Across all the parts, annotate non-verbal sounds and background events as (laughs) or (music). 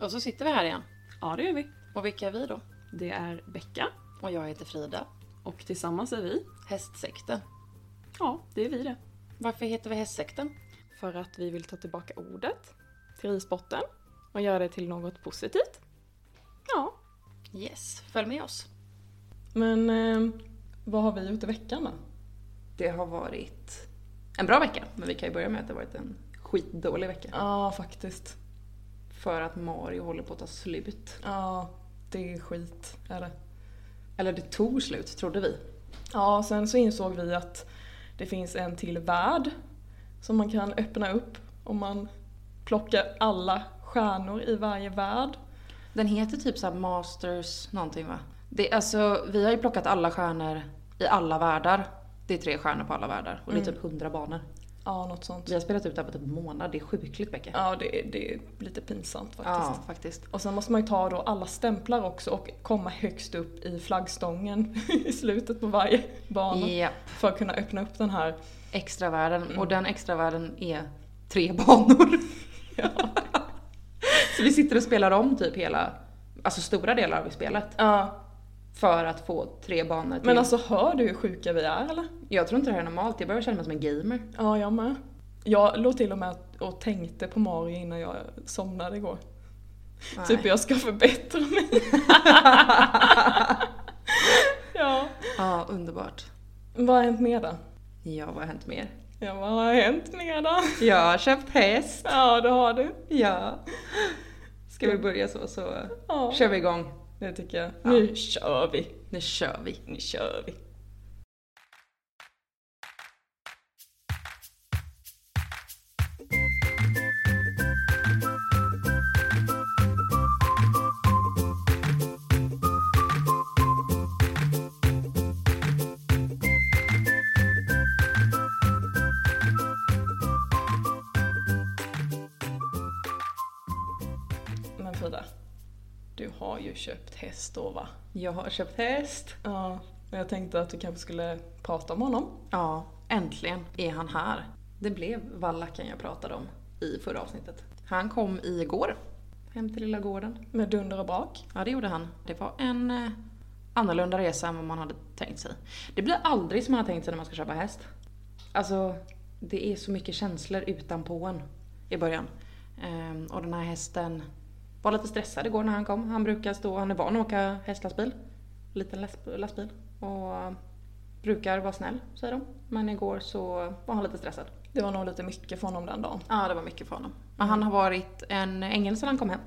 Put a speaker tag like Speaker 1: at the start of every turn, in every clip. Speaker 1: Och så sitter vi här igen.
Speaker 2: Ja, det gör vi.
Speaker 1: Och vilka är vi då?
Speaker 2: Det är Becka
Speaker 1: Och jag heter Frida.
Speaker 2: och tillsammans är vi,
Speaker 1: Hästsekten.
Speaker 2: ja, det är vi det.
Speaker 1: Varför heter vi Hästsekten?
Speaker 2: För att vi vill ta tillbaka ordet till risbotten och göra det till något positivt. Ja.
Speaker 1: Yes, följ med oss.
Speaker 2: Men eh, vad har vi gjort i veckan då?
Speaker 3: Det har varit en bra vecka, men vi kan ju börja med att det har varit en skitdålig vecka.
Speaker 2: Ja, faktiskt.
Speaker 3: För att Mario håller på att ta slut.
Speaker 2: Ja, det är skit. Är det.
Speaker 3: Eller det tog slut, trodde vi.
Speaker 2: Ja, sen så insåg vi att det finns en till värld som man kan öppna upp om man plockar alla stjärnor i varje värld.
Speaker 3: Den heter typ så här Masters någonting va? Det, är alltså, vi har ju plockat alla stjärnor i alla världar. Det är tre stjärnor på alla världar och det
Speaker 1: Mm.
Speaker 3: är typ 100 banor.
Speaker 2: Ja, något sånt.
Speaker 3: Vi har spelat ut det här på typ en månad, det är sjukligt Becka.
Speaker 2: Ja, det är, det är lite pinsamt faktiskt.
Speaker 3: Ja, faktiskt.
Speaker 2: Och sen måste man ju ta då alla stämplar också och komma högst upp i flaggstången (laughs) i slutet på varje bana.
Speaker 3: Ja,
Speaker 2: För att kunna öppna upp den här.
Speaker 3: extra världen. Och den extra världen är tre (laughs) banor.
Speaker 2: Ja,
Speaker 3: Så vi sitter och spelar om typ hela, alltså stora delar av spelet.
Speaker 2: ja.
Speaker 3: För att få tre banor till.
Speaker 2: Men alltså hör du hur sjuka vi är eller?
Speaker 3: Jag tror inte det här är normalt, jag börjar känna mig som en gamer.
Speaker 2: Ja, jag med. Jag låg till och med och tänkte på Mario innan jag somnade igår.
Speaker 3: (laughs)
Speaker 2: Typ jag ska förbättra mig. (laughs) ja.
Speaker 3: Ja, underbart.
Speaker 2: Vad har hänt mer då?
Speaker 3: Ja, vad har hänt mer?
Speaker 2: Ja, vad har hänt mer då?
Speaker 3: Jag har köpt häst.
Speaker 2: Ja, det har du.
Speaker 3: Ja. Ska vi börja så, så
Speaker 2: Ja,
Speaker 3: kör vi igång.
Speaker 2: det tycker jag. Nu kör vi.
Speaker 3: Nu kör vi.
Speaker 2: Nu kör vi. Men Frida, du har ju köpt häst då va?
Speaker 3: Jag har köpt häst.
Speaker 2: Ja, och jag tänkte att vi kanske skulle prata om honom.
Speaker 3: Ja, äntligen är han här. Det blev Vallacken jag pratade om i förra avsnittet. Han kom igår. Hem till lilla gården.
Speaker 2: Med dunder och brak.
Speaker 3: Ja, det gjorde han. Det var en eh, annorlunda resa än vad man hade tänkt sig. Det blir aldrig som man har tänkt sig när man ska köpa häst. Alltså, det är så mycket känslor utanpå en i början. Ehm, och den här hästen var lite stressad igår när han kom. Han brukar stå, han är van att åka hästlastbil. Liten lastb- lastbil. Och eh, brukar vara snäll, säger de. Men igår så var han lite stressad.
Speaker 2: Det var nog lite mycket för honom den dagen.
Speaker 3: Ja, det var mycket för honom. Men han har varit en ängel sedan han kom hem.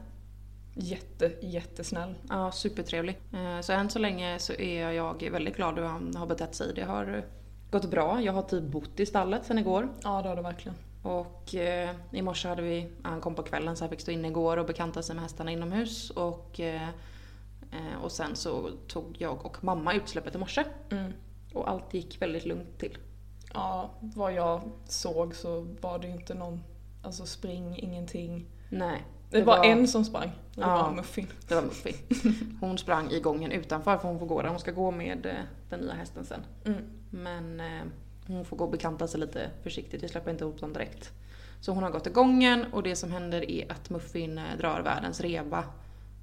Speaker 2: Jätte, jättesnäll.
Speaker 3: Ja, supertrevlig. Eh, Så än så länge så är jag väldigt glad hur han har betett sig. Det har eh, gått bra. Jag har typ bott i stallet sen igår.
Speaker 2: Ja, det har du verkligen.
Speaker 3: Och eh, i morse hade vi, han kom på kvällen så han fick stå inne igår och bekanta sig med hästarna inomhus. Och, eh, eh, och sen så tog jag och mamma utsläppet i morse.
Speaker 2: Mm.
Speaker 3: Och allt gick väldigt lugnt till.
Speaker 2: Ja, vad jag såg så var det ju inte någon, alltså spring, ingenting.
Speaker 3: Nej.
Speaker 2: Det, var, en som sprang. och Det
Speaker 3: Ja.
Speaker 2: var Muffin.
Speaker 3: Det var Muffy. Hon sprang i gången utanför för hon får gå där. Hon ska gå med eh, den nya hästen sen.
Speaker 2: Mm.
Speaker 3: Men eh, hon får gå och bekanta sig lite försiktigt, vi släpper inte ihop dem direkt. Så hon har gått i gången och det som händer är att Muffin eh, drar världens reba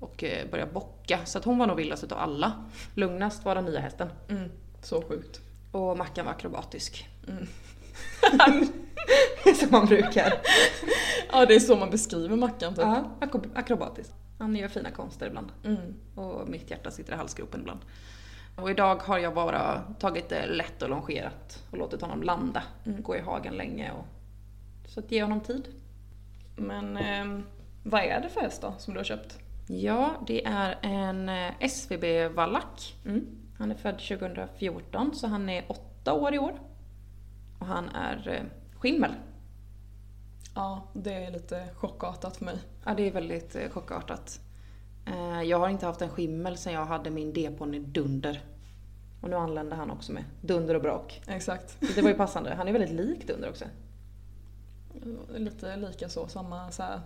Speaker 3: och eh, börjar bocka. Så att hon var nog vildast utav alla. Lugnast var den nya hästen.
Speaker 2: Mm. Så sjukt.
Speaker 3: Och Mackan var akrobatisk.
Speaker 2: Mm.
Speaker 3: (laughs) som man brukar.
Speaker 2: Ja, det är så man beskriver Mackan typ.
Speaker 3: Ja, akro- akrobatisk. Han gör fina konster ibland.
Speaker 2: Mm.
Speaker 3: Och mitt hjärta sitter i halsgropen ibland. Och idag har jag bara tagit det lätt och longerat och låtit honom landa. mm, Gå i hagen länge och... Så att ge honom tid.
Speaker 2: Men ehm, vad är det för häst då som du har köpt?
Speaker 3: Ja, det är en eh, SVB-vallack.
Speaker 2: Mm.
Speaker 3: Han är född 2014 så han är åtta år i år. Och han är eh, skimmel.
Speaker 2: Ja, det är lite chockartat för mig.
Speaker 3: Ja, det är väldigt eh, chockartat. Eh, Jag har inte haft en skimmel sedan jag hade min D-ponny Dunder. Och nu anländer han också med dunder och brak.
Speaker 2: Exakt.
Speaker 3: Så det var ju passande. Han är väldigt lik Dunder också.
Speaker 2: Lite lika så, samma så här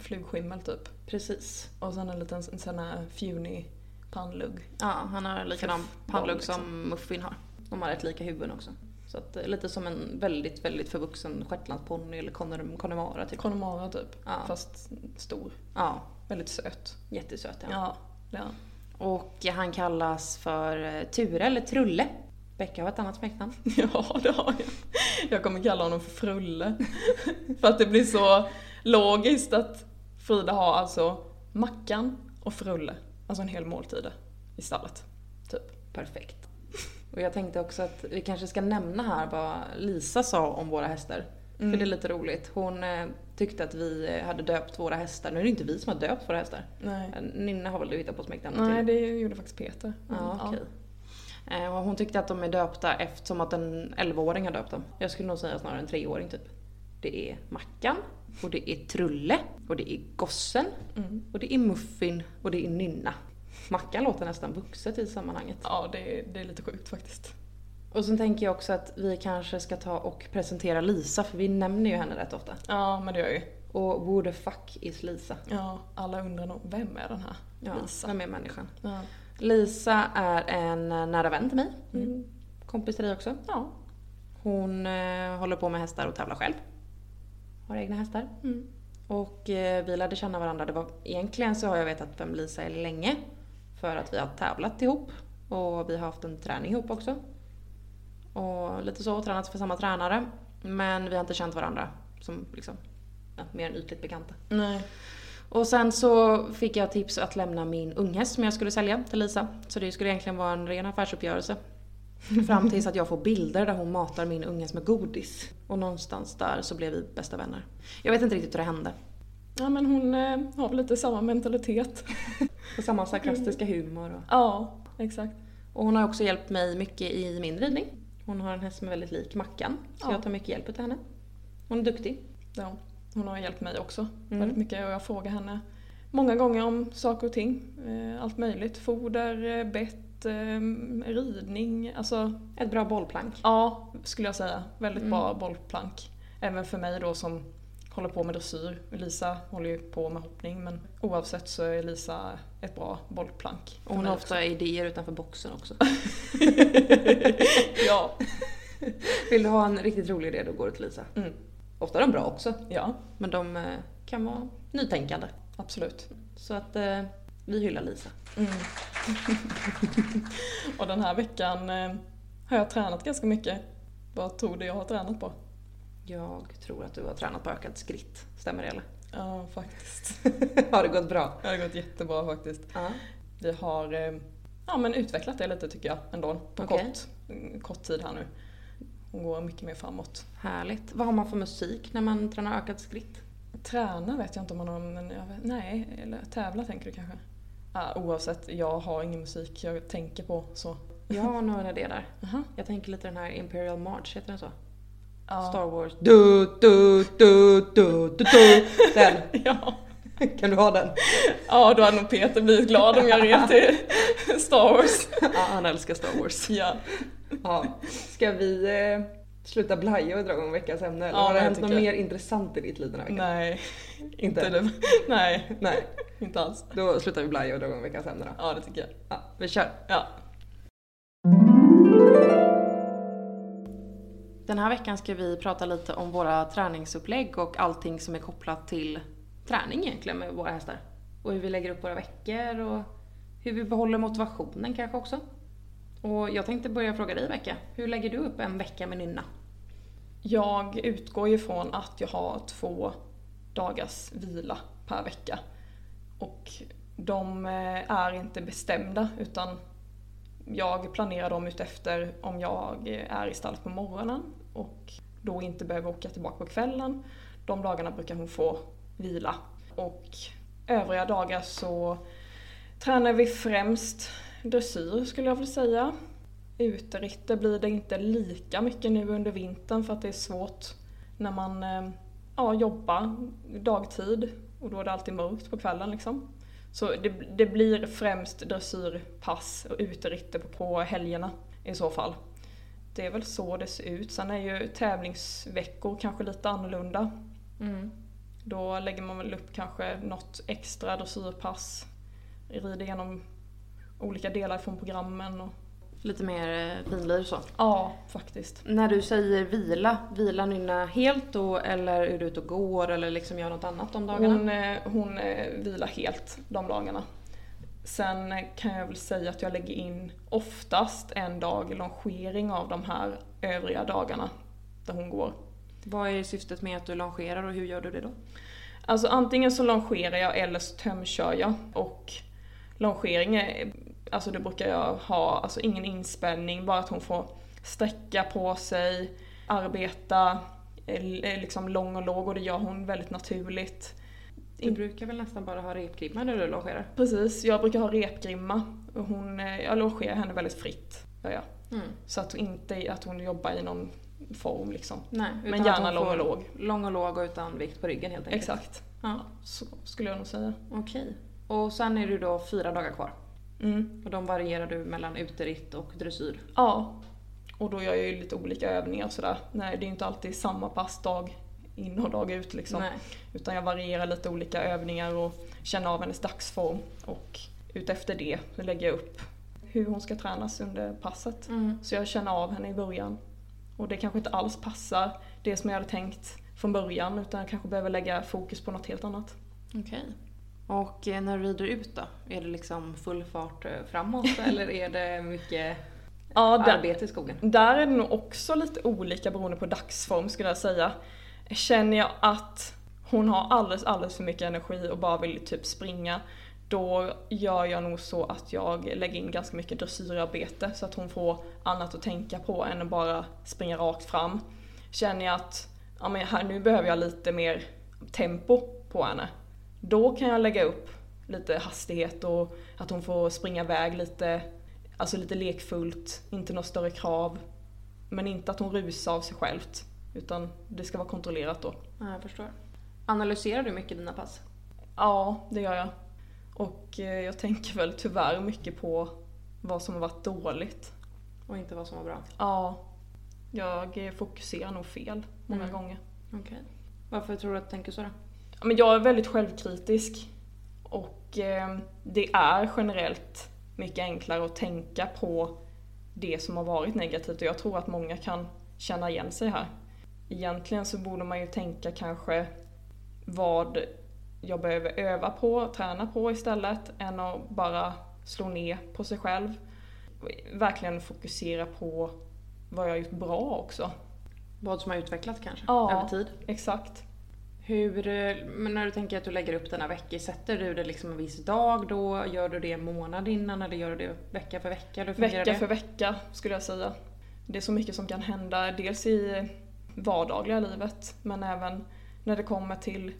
Speaker 2: flugskimmel typ.
Speaker 3: Precis.
Speaker 2: Och sen en liten en sån här fjunig pannlugg.
Speaker 3: Ja, han har likadan pannlugg
Speaker 2: liksom.
Speaker 3: som Muffin har. De har rätt lika huvuden också. Så att, eh, lite som en väldigt, väldigt förvuxen shetlandsponny eller connem- connemara typ.
Speaker 2: Connemara typ.
Speaker 3: Ja.
Speaker 2: Fast stor.
Speaker 3: Ja,
Speaker 2: Väldigt söt.
Speaker 3: jättesöt ja.
Speaker 2: Ja, det är han.
Speaker 3: Och han kallas för eh, Ture eller Trulle. Becka har ett annat smeknamn.
Speaker 2: Ja, det har jag. (laughs) Jag kommer kalla honom för Frulle. (laughs) För att det blir så logiskt att Frida har alltså Mackan och Frulle. Alltså en hel måltid i stallet. Typ.
Speaker 3: Perfekt. Och jag tänkte också att vi kanske ska nämna här vad Lisa sa om våra hästar. För det
Speaker 2: Mm.
Speaker 3: är lite roligt. Hon eh, tyckte att vi eh, hade döpt våra hästar. Nu är det inte vi som har döpt våra hästar.
Speaker 2: Nej.
Speaker 3: Eh, Nynne har väl du hittat på smeknamnet till?
Speaker 2: Nej, det gjorde faktiskt Peter. Mm.
Speaker 3: Ja, Mm, okej. Eh, och Hon tyckte att de är döpta eftersom att en 11-åring har döpt dem. Jag skulle nog säga snarare en 3-åring typ. Det är Mackan, och det är Trulle, och det är Gossen,
Speaker 2: Mm.
Speaker 3: och det är Muffin, och det är Nynna. Mackan låter nästan vuxet i sammanhanget.
Speaker 2: Ja, det, det är lite sjukt faktiskt.
Speaker 3: Och sen tänker jag också att vi kanske ska ta och presentera Lisa för vi nämner ju henne rätt ofta.
Speaker 2: Ja, men det gör jag ju.
Speaker 3: Och who the fuck is Lisa?
Speaker 2: Ja, alla undrar nog, vem är den här?
Speaker 3: Ja,
Speaker 2: Lisa.
Speaker 3: Vem är människan?
Speaker 2: Ja.
Speaker 3: Lisa är en nära vän till mig.
Speaker 2: Mm.
Speaker 3: Kompis till dig också.
Speaker 2: Ja.
Speaker 3: Hon eh, håller på med hästar och tävlar själv. Har egna hästar.
Speaker 2: Mm.
Speaker 3: Och eh, vi lärde känna varandra. Det var, egentligen så har jag vetat vem Lisa är länge. För att vi har tävlat ihop. Och vi har haft en träning ihop också. Och lite så, tränat för samma tränare. Men vi har inte känt varandra som liksom, ja, mer än ytligt bekanta.
Speaker 2: Nej.
Speaker 3: Och sen så fick jag tips att lämna min unghäst som jag skulle sälja till Lisa. Så det skulle egentligen vara en ren affärsuppgörelse. Fram tills att jag får bilder där hon matar min unghäst med godis. Och någonstans där så blev vi bästa vänner. Jag vet inte riktigt hur det hände.
Speaker 2: Ja, men hon eh, har väl lite
Speaker 3: (laughs)
Speaker 2: samma mentalitet.
Speaker 3: Och samma sarkastiska humor. Och,
Speaker 2: ja, exakt.
Speaker 3: och hon har också hjälpt mig mycket i min ridning. Hon har en häst som är väldigt lik Mackan. Så
Speaker 2: Ja.
Speaker 3: jag tar mycket hjälp av henne. Hon är duktig.
Speaker 2: Ja, hon har hjälpt mig också
Speaker 3: Mm.
Speaker 2: väldigt mycket och jag frågar henne många gånger om saker och ting. Eh, Allt möjligt. Foder, eh, bett, eh, ridning. Alltså,
Speaker 3: Ett bra bollplank.
Speaker 2: ja, skulle jag säga. Väldigt
Speaker 3: Mm.
Speaker 2: bra bollplank. Även för mig då som håller på med dressyr. Lisa håller ju på med hoppning men oavsett så är Lisa ett bra bollplank.
Speaker 3: Och
Speaker 2: för
Speaker 3: hon
Speaker 2: mig
Speaker 3: har
Speaker 2: också.
Speaker 3: ofta idéer utanför boxen också.
Speaker 2: ja.
Speaker 3: Vill du ha en riktigt rolig idé då går du till Lisa.
Speaker 2: Mm.
Speaker 3: Ofta är de bra också.
Speaker 2: ja,
Speaker 3: Men de eh, kan vara nytänkande.
Speaker 2: absolut.
Speaker 3: Så att eh, vi hyllar Lisa.
Speaker 2: Mm. (laughs) och den här veckan eh, har jag tränat ganska mycket. Vad tror du jag har tränat på?
Speaker 3: Jag tror att du har tränat på ökat skritt. Stämmer det eller?
Speaker 2: Ja, faktiskt.
Speaker 3: (laughs) har det gått bra?
Speaker 2: (laughs) Det har gått jättebra faktiskt.
Speaker 3: Ja.
Speaker 2: Vi har eh, ja, men utvecklat det lite tycker jag ändå på
Speaker 3: Okej.
Speaker 2: kort, mm, kort tid här nu. Hon går mycket mer framåt.
Speaker 3: Härligt. Vad har man för musik när man tränar ökat skritt?
Speaker 2: Träna vet jag inte om man har, men jag vet, nej, eller tävla tänker du kanske? Ja, oavsett, jag har ingen musik jag tänker på så.
Speaker 3: Jag har nog en idé där.
Speaker 2: Aha.
Speaker 3: Jag tänker lite den här Imperial March, heter den så?
Speaker 2: Ja.
Speaker 3: Star Wars. Du, du, du, du, du, du. Den.
Speaker 2: (laughs)
Speaker 3: (laughs)
Speaker 2: ja.
Speaker 3: Kan du ha den?
Speaker 2: Ja, då hade nog Peter blivit glad om jag red till Star Wars.
Speaker 3: Ja, han älskar Star Wars.
Speaker 2: Ja,
Speaker 3: Ja. Ska vi eh, sluta blaja och dra igång veckans ämne? Eller
Speaker 2: Ja,
Speaker 3: har det
Speaker 2: jag
Speaker 3: hänt något
Speaker 2: tycker-
Speaker 3: mer intressant i ditt liv den här veckan?
Speaker 2: nej.
Speaker 3: Inte?
Speaker 2: Inte det. Nej,
Speaker 3: Nej.
Speaker 2: inte alls.
Speaker 3: Då slutar vi blaja och drar igång veckans ämne då.
Speaker 2: Ja, det tycker jag.
Speaker 3: Ja, vi kör!
Speaker 2: Ja.
Speaker 3: Den här veckan ska vi prata lite om våra träningsupplägg och allting som är kopplat till träning egentligen med våra hästar. Och hur vi lägger upp våra veckor och hur vi behåller motivationen kanske också. Och jag tänkte börja fråga dig Becka, hur lägger du upp en vecka med Nynna?
Speaker 2: Jag utgår ju från att jag har två dagars vila per vecka. Och de eh, är inte bestämda utan jag planerar dem utefter om jag är i stallet på morgonen och då inte behöver åka tillbaka på kvällen. De dagarna brukar hon få vila. Och övriga dagar så tränar vi främst dressyr skulle jag vilja säga. Uteritter blir det inte lika mycket nu under vintern för att det är svårt när man eh, ja, jobbar dagtid och då är det alltid mörkt på kvällen liksom. Så det, det blir främst dressyrpass och uteritter på, på helgerna i så fall. Det är väl så det ser ut. Sen är ju tävlingsveckor kanske lite annorlunda.
Speaker 3: Mm.
Speaker 2: Då lägger man väl upp kanske något extra dressyrpass, rider igenom olika delar från programmen och
Speaker 3: Lite mer eh, finlir så.
Speaker 2: Ja, faktiskt.
Speaker 3: När du säger vila, vilar Nynna helt då eller är du ute och går eller liksom gör något annat de dagarna?
Speaker 2: Hon, eh, hon eh, vilar helt de dagarna. Sen eh, kan jag väl säga att jag lägger in oftast en dag longering av de här övriga dagarna där hon går.
Speaker 3: Vad är syftet med att du longerar och hur gör du det då?
Speaker 2: Alltså antingen så longerar jag eller så tömkör jag. Och longering, är, alltså det brukar jag ha, alltså ingen inspänning, bara att hon får sträcka på sig, arbeta, eh, eh, liksom lång och låg och det gör hon väldigt naturligt.
Speaker 3: Du brukar väl nästan bara ha repgrimmar när du longerar?
Speaker 2: Precis, jag brukar ha repgrimma. Och hon, eh, jag longerar henne väldigt fritt, gör jag.
Speaker 3: Mm.
Speaker 2: Så att hon inte att hon jobbar i någon form liksom.
Speaker 3: Nej,
Speaker 2: Men
Speaker 3: utan
Speaker 2: gärna
Speaker 3: att
Speaker 2: lång
Speaker 3: hon
Speaker 2: och
Speaker 3: får
Speaker 2: låg.
Speaker 3: Lång och låg och utan vikt på ryggen helt enkelt.
Speaker 2: Exakt,
Speaker 3: Ja,
Speaker 2: så skulle jag nog säga.
Speaker 3: Okej. Och sen är det då fyra dagar kvar.
Speaker 2: Mm.
Speaker 3: Och de varierar du mellan uteritt och dressyr.
Speaker 2: Ja. Och då gör jag ju lite olika övningar och sådär. Nej, det är inte alltid samma pass dag in och dag ut liksom.
Speaker 3: Nej.
Speaker 2: Utan jag varierar lite olika övningar och känner av hennes dagsform. Och utefter det så lägger jag upp hur hon ska tränas under passet.
Speaker 3: Mm.
Speaker 2: Så jag känner av henne i början. Och det kanske inte alls passar det som jag hade tänkt från början utan jag kanske behöver lägga fokus på något helt annat.
Speaker 3: Okej. Och eh, när du rider ut då? Är det liksom full fart eh, (laughs) framåt eller är det mycket
Speaker 2: Ja, där,
Speaker 3: arbete i skogen?
Speaker 2: Där är det nog också lite olika beroende på dagsform skulle jag säga. Känner jag att hon har alldeles, alldeles för mycket energi och bara vill typ springa, då gör jag nog så att jag lägger in ganska mycket dressyrarbete så att hon får annat att tänka på än att bara springa rakt fram. Känner jag att ja, men här, nu behöver jag lite mer tempo på henne, då kan jag lägga upp lite hastighet och att hon får springa iväg lite Alltså lite lekfullt, inte några större krav. Men inte att hon rusar av sig självt. Utan det ska vara kontrollerat då.
Speaker 3: Ja, jag förstår. Analyserar du mycket dina pass?
Speaker 2: Ja, det gör jag. Och eh, jag tänker väl tyvärr mycket på vad som har varit dåligt.
Speaker 3: Och inte vad som var bra?
Speaker 2: Ja, jag eh, fokuserar nog fel många
Speaker 3: Mm.
Speaker 2: gånger.
Speaker 3: Okej. Varför tror du att du tänker så då?
Speaker 2: Ja, Men jag är väldigt självkritisk. Och eh, det är generellt mycket enklare att tänka på det som har varit negativt och jag tror att många kan känna igen sig här. Egentligen så borde man ju tänka kanske vad jag behöver öva på, träna på istället än att bara slå ner på sig själv. Verkligen fokusera på vad jag har gjort bra också.
Speaker 3: Vad som har utvecklats kanske?
Speaker 2: Ja.
Speaker 3: Över tid?
Speaker 2: Exakt.
Speaker 3: Hur, eh, men när du tänker att du lägger upp dina veckor, sätter du det liksom en viss dag då? Gör du det en månad innan eller gör du det vecka för vecka? Eller hur fungerar
Speaker 2: Vecka
Speaker 3: det?
Speaker 2: för vecka skulle jag säga. Det är så mycket som kan hända, dels i vardagliga livet men även när det kommer till,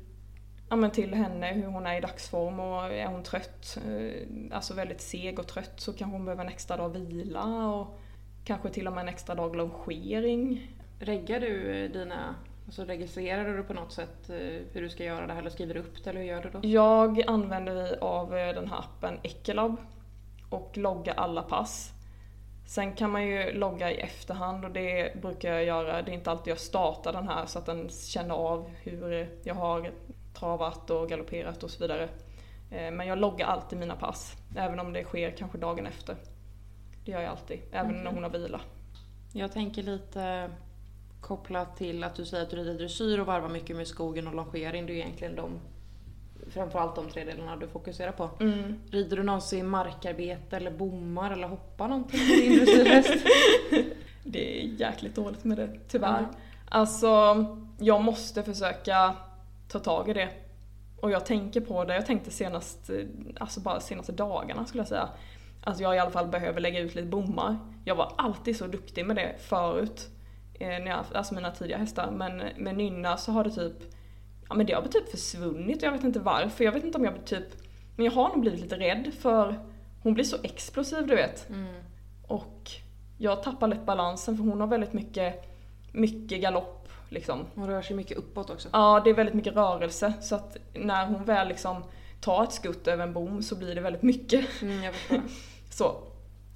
Speaker 2: ja, men till henne, hur hon är i dagsform och är hon trött, eh, alltså väldigt seg och trött så kanske hon behöver en extra dag vila och kanske till och med en extra dag longering.
Speaker 3: Reggar du eh, dina, alltså registrerar du på något sätt eh, hur du ska göra det här eller skriver du upp det eller hur gör du då?
Speaker 2: Jag använder mig av eh, den här appen Ecolab och loggar alla pass. Sen kan man ju logga i efterhand och det brukar jag göra. Det är inte alltid jag startar den här så att den känner av hur jag har travat och galopperat och så vidare. Eh, Men jag loggar alltid mina pass, även om det sker kanske dagen efter. Det gör jag alltid, även när hon har vila.
Speaker 3: Jag tänker lite kopplat till att du säger att du rider dressyr och varvar mycket med skogen och longering. Det är ju egentligen de, framförallt de tre delarna du fokuserar på. Rider du någonsin markarbete eller bommar eller hoppar någonting med din dressyrhäst?
Speaker 2: Det är jäkligt dåligt med det, tyvärr.
Speaker 3: Ja.
Speaker 2: Alltså, jag måste försöka ta tag i det. Och jag tänker på det, jag tänkte senast, eh, alltså bara senaste dagarna skulle jag säga. Att jag i alla fall behöver lägga ut lite bommar. Jag var alltid så duktig med det förut. eh, När jag, alltså mina tidiga hästar. Men med Nynna så har det typ, ja men det har typ försvunnit och jag vet inte varför. Jag vet inte om jag typ, men jag har nog blivit lite rädd för hon blir så explosiv du vet.
Speaker 3: Mm.
Speaker 2: Och jag tappar lätt balansen för hon har väldigt mycket, mycket galopp. Liksom.
Speaker 3: Hon rör sig mycket uppåt också.
Speaker 2: Ja, det är väldigt mycket rörelse så att när hon väl liksom tar ett skutt över en bom så blir det väldigt mycket. (laughs)
Speaker 3: Mm, jag förstår.
Speaker 2: Så.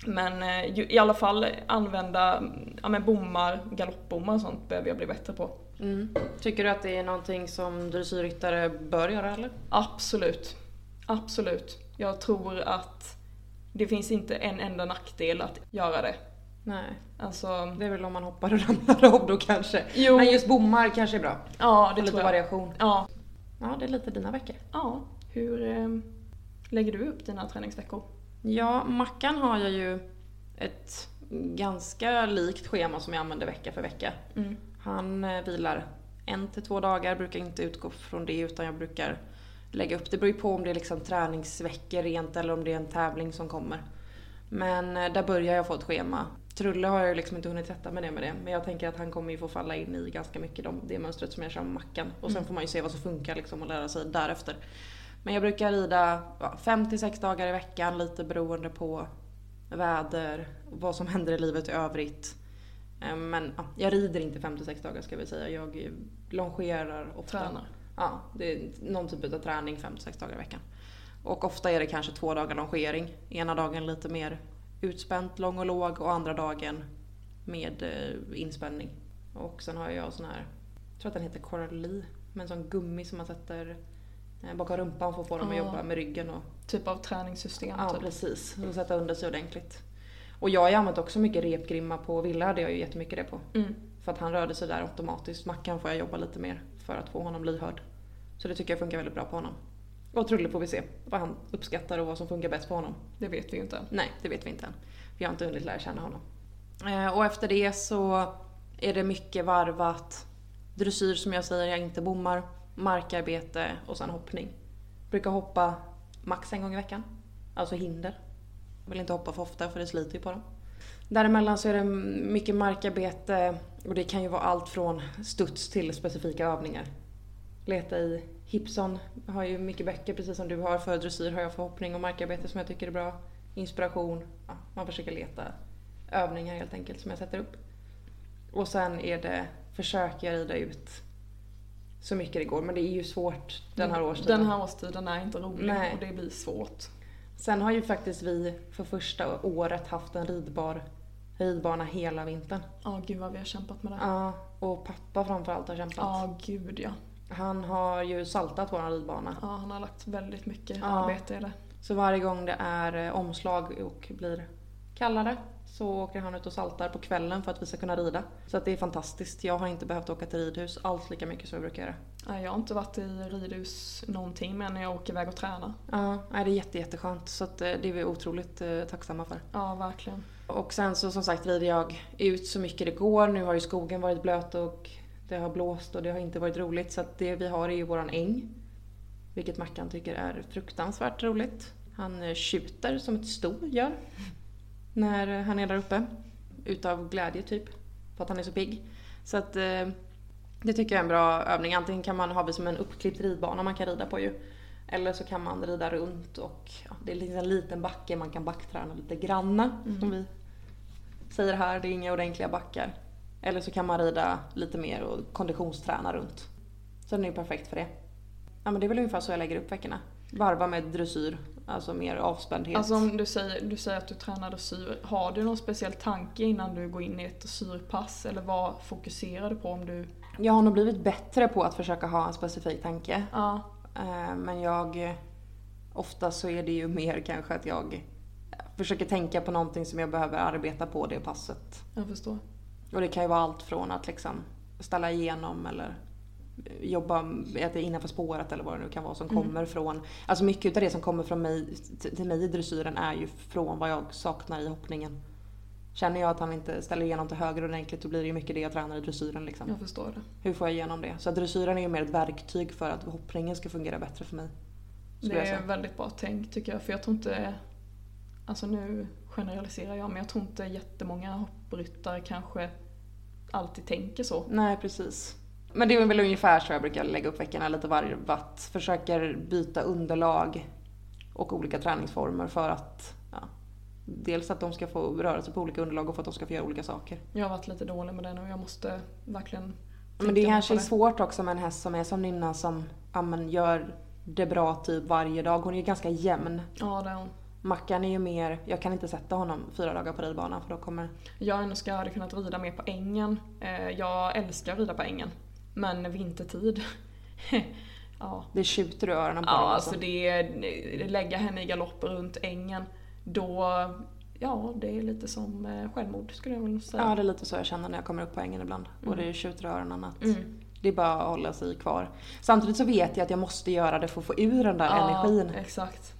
Speaker 2: Men eh, ju- i alla fall använda ja, men bommar, galoppbommar och sånt behöver jag bli bättre på.
Speaker 3: Mm. Tycker du att det är någonting som dressyrryttare bör göra eller?
Speaker 2: Absolut. Absolut. Jag tror att Det finns inte en enda nackdel att göra det.
Speaker 3: Nej,
Speaker 2: Alltså,
Speaker 3: det är väl om man hoppar och (laughs) ramlar av då kanske.
Speaker 2: Jo.
Speaker 3: Men just bommar kanske är bra.
Speaker 2: ja det
Speaker 3: lite
Speaker 2: tror jag.
Speaker 3: variation.
Speaker 2: Ja.
Speaker 3: Ja, det är lite dina veckor.
Speaker 2: ja. Hur eh, lägger du upp dina träningsveckor?
Speaker 3: Ja, Mackan har jag ju ett ganska likt schema som jag använder vecka för vecka.
Speaker 2: Mm.
Speaker 3: Han eh, vilar en till två dagar, brukar inte utgå från det utan jag brukar lägga upp. Det beror ju på om det är liksom träningsveckor rent eller om det är en tävling som kommer. Men eh, där börjar jag få ett schema. Trulle har jag ju liksom inte hunnit sätta mig ner med det men jag tänker att han kommer ju få falla in i ganska mycket de, det mönstret som jag kör med Mackan. Och sen får man ju se vad som funkar liksom och lära sig därefter. Men jag brukar rida 5-6 dagar i veckan lite beroende på väder, vad som händer i livet i övrigt. Eh, Men ja, jag rider inte 5-6 dagar ska vi säga. Jag eh, longerar ofta.
Speaker 2: Tränar.
Speaker 3: Ja, det är någon typ av träning 5-6 dagar i veckan. Och ofta är det kanske två dagar longering. Ena dagen lite mer utspänt, lång och låg och andra dagen med eh, inspänning. Och sen har jag sån här, jag tror att den heter Coralie, men sån gummi som man sätter eh, bakom rumpan och får på dem att
Speaker 2: Ja.
Speaker 3: jobba med ryggen och
Speaker 2: Typ av träningssystem?
Speaker 3: Ja
Speaker 2: typ.
Speaker 3: precis, och sätta under sig ordentligt. Och jag har ju använt också mycket repgrimma på Villa hade jag ju jättemycket det på.
Speaker 2: Mm.
Speaker 3: För att han rörde sig där automatiskt. Mackan får jag jobba lite mer för att få honom lyhörd. Så det tycker jag funkar väldigt bra på honom. Och Trulle får vi se vad han uppskattar och vad som funkar bäst på honom.
Speaker 2: Det vet vi ju inte än.
Speaker 3: Nej, det vet vi inte än. Vi har inte hunnit lära känna honom. Eh, och efter det så är det mycket varvat. Dressyr som jag säger jag inte bommar. Markarbete och sen hoppning. Brukar hoppa max en gång i veckan. Alltså hinder. Jag vill inte hoppa för ofta för det sliter ju på dem. Däremellan så är det mycket markarbete och det kan ju vara allt från studs till specifika övningar. Leta i Hipson har ju mycket böcker precis som du har. För dressyr har jag för hoppning och markarbete som jag tycker är bra. Inspiration. Ja, man försöker leta övningar helt enkelt som jag sätter upp. Och sen är det försöker jag rida ut så mycket det går. Men det är ju svårt Mm. den här årstiden.
Speaker 2: Den här årstiden är inte rolig
Speaker 3: Nej.
Speaker 2: och det blir svårt.
Speaker 3: Sen har ju faktiskt vi för första året haft en ridbar, ridbana hela vintern.
Speaker 2: Ja, gud vad vi har kämpat med det. Ja,
Speaker 3: Ja, och pappa framförallt har kämpat.
Speaker 2: gud ja.
Speaker 3: Han har ju saltat våran ridbana.
Speaker 2: Ja, han har lagt väldigt mycket
Speaker 3: Ja.
Speaker 2: arbete i det.
Speaker 3: Så varje gång det är eh, omslag och blir kallare så åker han ut och saltar på kvällen för att vi ska kunna rida. Så att det är fantastiskt. Jag har inte behövt åka till ridhus alls lika mycket som jag brukar göra.
Speaker 2: Nej, Jag har inte varit i ridhus någonting men när jag åker iväg och tränar.
Speaker 3: Ja, nej, det är jätte, jätteskönt. Så att eh, det är vi otroligt eh, tacksamma för.
Speaker 2: Ja, verkligen.
Speaker 3: Och sen så som sagt rider jag ut så mycket det går. Nu har ju skogen varit blöt och det har blåst och det har inte varit roligt. Så att det vi har är ju våran äng. Vilket Mackan tycker är fruktansvärt roligt. Han eh, tjuter som ett sto gör. När eh, han är där uppe. Utav glädje typ. För att han är så pigg. Så att eh, det tycker jag är en bra övning. Antingen kan man ha det som en uppklippt ridbana man kan rida på ju. Eller så kan man rida runt och ja, det är liksom en liten backe man kan backträna lite granna. Som vi säger här, det är inga ordentliga backar. Eller så kan man rida lite mer och konditionsträna runt. Så den är ju perfekt för det. Ja men det är väl ungefär så jag lägger upp veckorna. Varva med dressyr, alltså mer avspändhet.
Speaker 2: Alltså om du säger, du säger att du tränar dressyr, har du någon speciell tanke innan du går in i ett dressyrpass? Eller vad fokuserar du på om du...
Speaker 3: Jag har nog blivit bättre på att försöka ha en specifik tanke.
Speaker 2: Ja,
Speaker 3: Eh, Men jag... Ofta så är det ju mer kanske att jag försöker tänka på någonting som jag behöver arbeta på det passet.
Speaker 2: jag förstår.
Speaker 3: Och det kan ju vara allt från att liksom ställa igenom eller jobba med att det är innanför spåret eller vad det nu kan vara som kommer från. Alltså mycket av det som kommer från mig t- till mig i dressyren är ju från vad jag saknar i hoppningen. Känner jag att han inte ställer igenom till höger ordentligt då blir det ju mycket det jag tränar i dressyren liksom.
Speaker 2: Jag förstår det.
Speaker 3: Hur får jag igenom det? Så att dressyren är ju mer ett verktyg för att hoppningen ska fungera bättre för mig. Skulle
Speaker 2: Det
Speaker 3: jag
Speaker 2: är
Speaker 3: säga.
Speaker 2: väldigt bra tänk tycker jag, för jag tror inte... Alltså nu generaliserar jag, men jag tror inte jättemånga hoppryttare kanske alltid tänker så.
Speaker 3: Nej, precis. Men det är väl ungefär så jag brukar lägga upp veckorna, lite varvat. Försöker byta underlag och olika träningsformer för att ja, dels att de ska få röra sig på olika underlag och för att de ska få göra olika saker.
Speaker 2: Jag har varit lite dålig med det nu, jag måste verkligen...
Speaker 3: Men det
Speaker 2: tänka
Speaker 3: kanske är
Speaker 2: mer på
Speaker 3: svårt också med en häst som är som Nynna som ja, men gör det bra typ varje dag. Hon är ju ganska jämn.
Speaker 2: det. Ja, det är hon.
Speaker 3: Mackan är ju mer, jag kan inte sätta honom fyra dagar på ridbanan för då kommer
Speaker 2: Jag önskar jag hade kunnat rida mer på ängen. Eh, Jag älskar att rida på ängen. Men vintertid. (laughs) ja.
Speaker 3: det tjuter i öronen på liksom.
Speaker 2: ja,
Speaker 3: dem,
Speaker 2: alltså det... Lägga henne i galopp runt ängen. Då, ja det är lite som eh, självmord skulle jag vilja säga.
Speaker 3: Ja, det är lite så jag känner när jag kommer upp på ängen ibland. Och det tjuter i öronen att
Speaker 2: Mm.
Speaker 3: det är bara att hålla sig kvar. Samtidigt så vet jag att jag måste göra det för att få ur den där
Speaker 2: Ja,
Speaker 3: energin.
Speaker 2: exakt.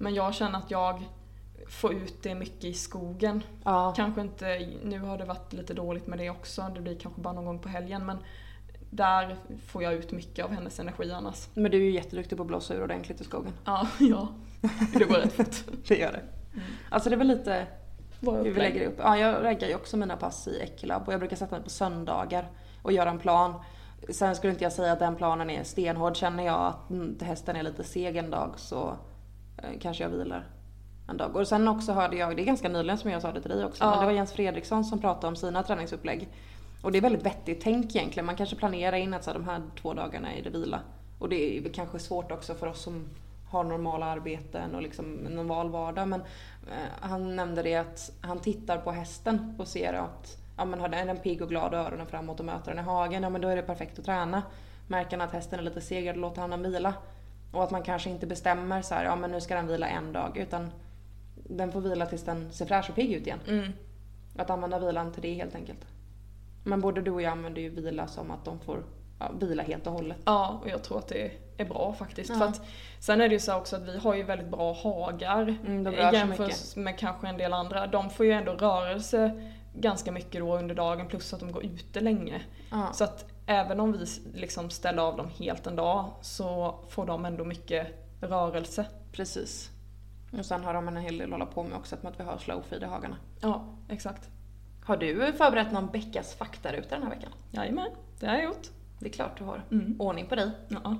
Speaker 2: Men jag känner att jag får ut det mycket i skogen.
Speaker 3: Ja,
Speaker 2: Kanske inte, nu har det varit lite dåligt med det också, det blir kanske bara någon gång på helgen men där får jag ut mycket av hennes energi annars.
Speaker 3: men du är ju jätteduktig på att blåsa ur ordentligt i skogen.
Speaker 2: Ja, (laughs) ja. Det går rätt fort.
Speaker 3: (laughs) Det gör det. Alltså det är väl lite
Speaker 2: Våra
Speaker 3: hur vi
Speaker 2: upplägg.
Speaker 3: lägger upp. Ja, jag raggar ju också mina pass i Ecolab och jag brukar sätta mig på söndagar och göra en plan. Sen skulle inte jag säga att den planen är stenhård. Känner jag att mm, hästen är lite seg en dag så eh, kanske jag vilar en dag. Och sen också hörde jag, det är ganska nyligen som jag sa det till dig också,
Speaker 2: Ja.
Speaker 3: men det var Jens Fredriksson som pratade om sina träningsupplägg. Och det är väldigt vettigt tänk egentligen. Man kanske planerar in att så här, de här två dagarna är det vila. Och det är väl kanske svårt också för oss som har normala arbeten och liksom en normal vardag. Men eh, han nämnde det att han tittar på hästen och ser att ja, men har den- är den pigg och glad och öronen framåt och möter den i hagen, ja men då är det perfekt att träna. Märker han att hästen är lite segare, då låter han den vila. Och att man kanske inte bestämmer så här, ja men nu ska den vila en dag, utan den får vila tills den ser fräsch och pigg ut igen.
Speaker 2: Mm.
Speaker 3: Att använda vilan till det helt enkelt. Men både du och jag använder ju vila som att de får ja, vila helt och hållet.
Speaker 2: Ja, och jag tror att det är bra faktiskt.
Speaker 3: Ja.
Speaker 2: För att, sen är det ju så här också att vi har ju väldigt bra hagar
Speaker 3: Mm, de rör sig
Speaker 2: jämfört med kanske en del andra. De får ju ändå rörelse ganska mycket då under dagen plus att de går ute länge.
Speaker 3: Ja.
Speaker 2: Så att även om vi s- liksom ställer av dem helt en dag så får de ändå mycket rörelse.
Speaker 3: Precis. Och sen har de en hel del att hålla på med också, med att vi har slowfeed i hagarna.
Speaker 2: Ja, exakt.
Speaker 3: Har du förberett någon Beckas faktaruta den här veckan?
Speaker 2: Jajamän, det har jag gjort.
Speaker 3: Det är klart du har.
Speaker 2: Mm.
Speaker 3: Ordning på dig.
Speaker 2: Ja.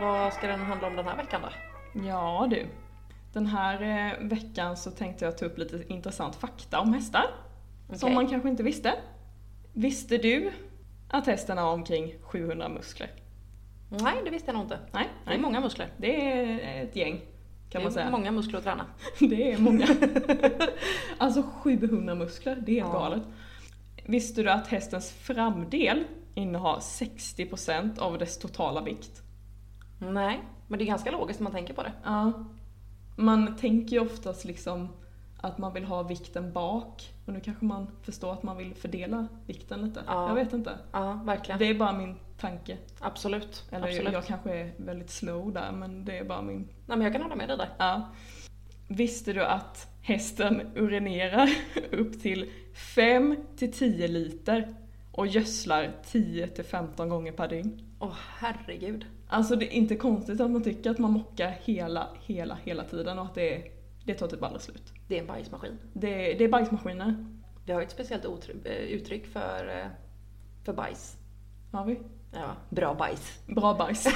Speaker 3: Vad ska den handla om den här veckan då?
Speaker 2: Ja du. Den här eh, veckan så tänkte jag ta upp lite intressant fakta om hästar. Som
Speaker 3: Okej.
Speaker 2: man kanske inte visste. Visste du att hästen har omkring 700 muskler?
Speaker 3: Nej, det visste jag nog inte.
Speaker 2: Nej,
Speaker 3: Det är
Speaker 2: nej.
Speaker 3: många muskler.
Speaker 2: Det är ett gäng kan man
Speaker 3: Mm. det är
Speaker 2: säga.
Speaker 3: många muskler att träna.
Speaker 2: (laughs) Det
Speaker 3: (laughs)
Speaker 2: är många. alltså 700 muskler, det är helt
Speaker 3: Ja.
Speaker 2: galet. Visste du att hästens framdel innehar 60% av dess totala vikt?
Speaker 3: Nej, men det är ganska logiskt när man tänker på det.
Speaker 2: Ja. Man tänker ju oftast liksom att man vill ha vikten bak. Men nu kanske man förstår att man vill fördela vikten lite.
Speaker 3: Ja.
Speaker 2: Jag vet inte.
Speaker 3: Ja, verkligen.
Speaker 2: Det är bara min tanke.
Speaker 3: Absolut.
Speaker 2: Eller
Speaker 3: Absolut.
Speaker 2: jag kanske är väldigt slow där, men det är bara min...
Speaker 3: Nej, men jag kan hålla med dig där.
Speaker 2: Ja. Visste du att hästen urinerar (laughs) upp till 5-10 liter och gödslar 10-15 gånger per dygn?
Speaker 3: Åh herregud.
Speaker 2: Alltså det är inte konstigt att man tycker att man mockar hela, hela, hela tiden och att det, det tar typ aldrig slut.
Speaker 3: Det är en bajsmaskin.
Speaker 2: Det, det är bajsmaskiner.
Speaker 3: Vi har ju ett speciellt otry- eh, uttryck för, eh, för bajs.
Speaker 2: Har vi?
Speaker 3: Ja, bra bajs.
Speaker 2: (laughs)
Speaker 3: (laughs)
Speaker 2: Bra bajs.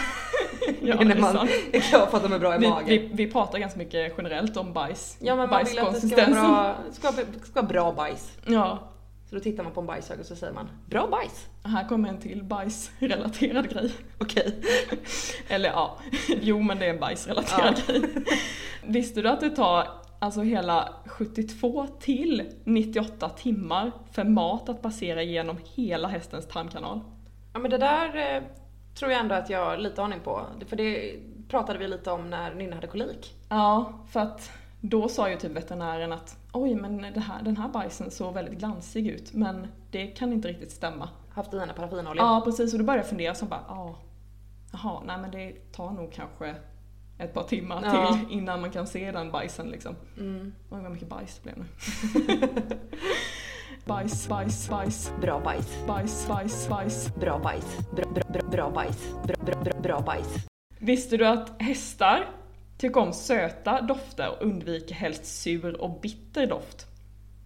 Speaker 3: det är när man (laughs)
Speaker 2: sant.
Speaker 3: är klar på att de är bra i
Speaker 2: vi,
Speaker 3: magen.
Speaker 2: vi, vi pratar ganska mycket generellt om bajs.
Speaker 3: ja men man vill att det ska vara bra, ska, ska vara bra bajs.
Speaker 2: Ja,
Speaker 3: Så då tittar man på en bajshög och så säger man bra bajs.
Speaker 2: här kommer en till bajsrelaterad grej.
Speaker 3: Okej.
Speaker 2: Eller ja, (laughs) jo men det är en bajsrelaterad grej. Visste du att det tar alltså hela 72 till 98 timmar för mat att passera genom hela hästens tarmkanal?
Speaker 3: Ja men det där eh, tror jag ändå att jag har lite aning på. För det pratade vi lite om när Nynne hade kolik.
Speaker 2: Ja, för att då sa ju typ veterinären att oj men det här, den här bajsen såg väldigt glansig ut men det kan inte riktigt stämma.
Speaker 3: Haft i henne paraffinolja.
Speaker 2: Ja precis och då började jag fundera så bara ja, jaha nej men det tar nog kanske ett par timmar
Speaker 3: Ja.
Speaker 2: till innan man kan se den bajsen liksom.
Speaker 3: Mm.
Speaker 2: Oj vad mycket bajs det blev nu. (laughs) bajs, bajs, bajs,
Speaker 3: Bra bajs.
Speaker 2: bajs, bajs, bajs.
Speaker 3: Bra bajs. Bra, bra, bra, bra bajs. Bra, bra, bra, bra bajs.
Speaker 2: Visste du att hästar tycker om söta dofter och undviker helst sur och bitter doft?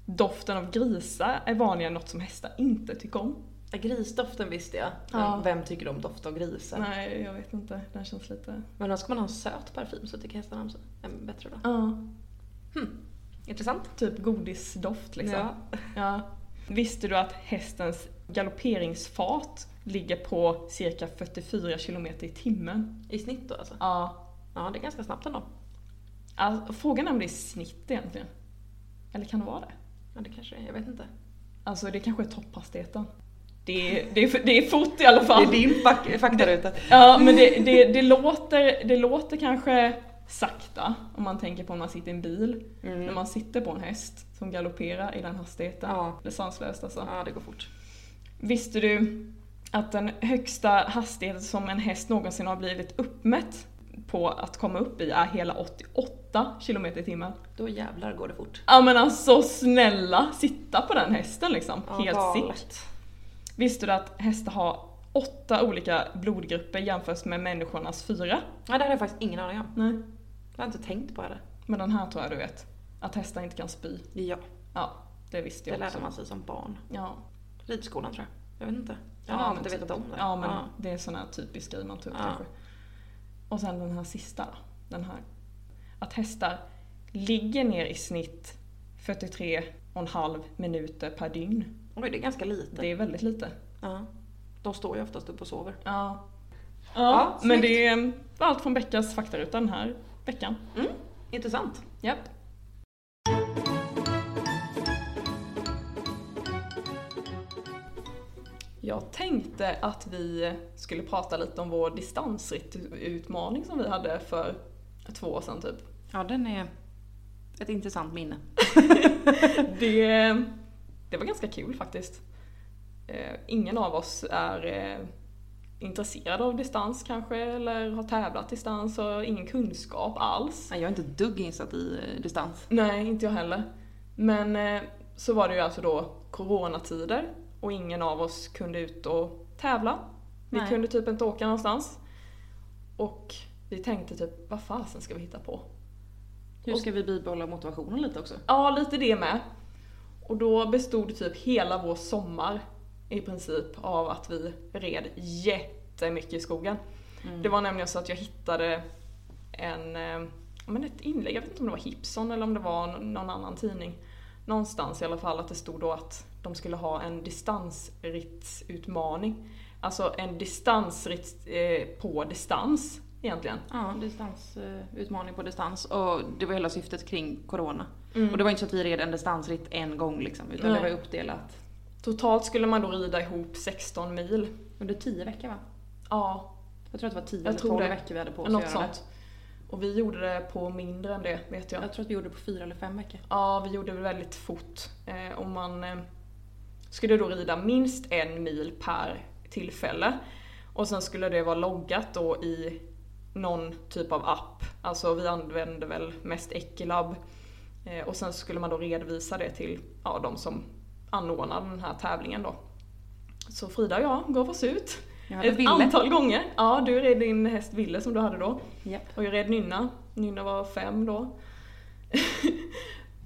Speaker 2: Doften av grisar är vanligare något som hästar inte tycker om.
Speaker 3: Ja, Grisdoften visste jag.
Speaker 2: Ja.
Speaker 3: Men Vem tycker om doft av grisar?
Speaker 2: Nej, jag vet inte. Den känns lite...
Speaker 3: Men då ska man ha en söt parfym så tycker hästarna om sig. En bättre då.
Speaker 2: Ja,
Speaker 3: Intressant.
Speaker 2: typ godisdoft liksom.
Speaker 3: Ja.
Speaker 2: Ja. Visste du att hästens galopperingsfart ligger på cirka 44 km i timmen?
Speaker 3: I snitt då alltså.
Speaker 2: Ja.
Speaker 3: Ja, det är ganska snabbt ändå.
Speaker 2: Alltså, frågan är om det är snitt egentligen. Eller kan det vara det?
Speaker 3: Ja, det kanske det är. Jag vet inte.
Speaker 2: Alltså det kanske är topphastigheten. Det är, det, är, det är fort i alla fall.
Speaker 3: Det är din fak- faktaruta.
Speaker 2: Ja, men det, det, det, låter, det låter kanske sakta om man tänker på om man sitter i en bil.
Speaker 3: Mm.
Speaker 2: När man sitter på en häst som galopperar i den hastigheten.
Speaker 3: Ja.
Speaker 2: Det är sanslöst alltså.
Speaker 3: Ja, det går fort.
Speaker 2: Visste du att den högsta hastigheten som en häst någonsin har blivit uppmätt på att komma upp i är hela 88 km i timmen?
Speaker 3: Då jävlar går det fort.
Speaker 2: Ja men alltså snälla, sitta på den hästen liksom. Helt sick.
Speaker 3: galet.
Speaker 2: Visste du att hästar har åtta olika blodgrupper jämfört med människornas fyra?
Speaker 3: Ja, det hade jag faktiskt ingen aning om.
Speaker 2: Nej.
Speaker 3: Jag har inte tänkt på det.
Speaker 2: Men den här tror jag du vet. Att hästar inte kan spy.
Speaker 3: Ja,
Speaker 2: Ja, det visste
Speaker 3: det
Speaker 2: jag
Speaker 3: lärde
Speaker 2: också.
Speaker 3: man sig som barn.
Speaker 2: Ja,
Speaker 3: Ridskolan tror jag. Jag vet inte. Jag
Speaker 2: Ja,
Speaker 3: har
Speaker 2: men
Speaker 3: alltid
Speaker 2: typ.
Speaker 3: vetat om det.
Speaker 2: ja men det är sån här typisk grej man tar upp
Speaker 3: Ja.
Speaker 2: kanske. Och sen den här sista då. Den här. Att hästar ligger ner i snitt 43,5 minuter per dygn.
Speaker 3: Oj, det är ganska lite.
Speaker 2: Det är väldigt lite.
Speaker 3: Ja. De står ju oftast upp och sover.
Speaker 2: Ja. Ja,
Speaker 3: Ja,
Speaker 2: men
Speaker 3: snyggt.
Speaker 2: det är allt från Beckas faktaruta den här veckan.
Speaker 3: Intressant.
Speaker 2: Japp. Jag tänkte att vi skulle prata lite om vår distansutmaning som vi hade för två år sedan typ.
Speaker 3: Ja, den är ett intressant minne.
Speaker 2: Det, det var ganska kul faktiskt. Eh, Ingen av oss är eh, intresserad av distans kanske, eller har tävlat distans och har ingen kunskap alls.
Speaker 3: Nej, jag är inte ett dugg insatt i eh, distans.
Speaker 2: Nej, inte jag heller. Men eh, så var det ju alltså då coronatider och ingen av oss kunde ut och tävla. Vi
Speaker 3: Nej.
Speaker 2: kunde typ inte åka någonstans. Och vi tänkte typ, vad fasen ska vi hitta på?
Speaker 3: Hur ska vi bibehålla motivationen lite också?
Speaker 2: Ja, lite det med. Och då bestod typ hela vår sommar i princip av att vi red jättemycket i skogen.
Speaker 3: Mm.
Speaker 2: Det var nämligen så att jag hittade en, eh, ja, men ett inlägg, jag vet inte om det var Hipson eller om det var n- någon annan tidning. Någonstans i alla fall att det stod då att de skulle ha en distansrittsutmaning. Alltså en distansritt eh, på distans egentligen.
Speaker 3: Ja, distansutmaning på distans. Och det var hela syftet kring corona. Och det var inte så att vi red en distansritt en gång liksom, utan
Speaker 2: Nej.
Speaker 3: det var uppdelat.
Speaker 2: Totalt skulle man då rida ihop 16 mil.
Speaker 3: Under tio veckor va?
Speaker 2: Ja,
Speaker 3: Jag tror att det var tio
Speaker 2: Jag
Speaker 3: eller
Speaker 2: tror
Speaker 3: tolv
Speaker 2: det.
Speaker 3: veckor vi hade på oss
Speaker 2: Något
Speaker 3: att göra
Speaker 2: sånt. Och vi gjorde det på mindre än det, vet jag.
Speaker 3: det. Jag tror att vi gjorde det på fyra eller fem veckor.
Speaker 2: Ja, vi gjorde det väldigt fort. Eh, och man eh, skulle då rida minst en mil per tillfälle. Och sen skulle det vara loggat då i någon typ av app. Alltså vi använde väl mest Equilab. Eh, och sen skulle man då redovisa det till ja, de som anordnar den här tävlingen då. Så Frida och jag gav oss ut.
Speaker 3: Jag hade
Speaker 2: Ett
Speaker 3: Ville.
Speaker 2: antal gånger. Ja, du red din häst Ville som du hade då.
Speaker 3: Japp.
Speaker 2: Och jag red Nynna. Nynna var fem då. (laughs)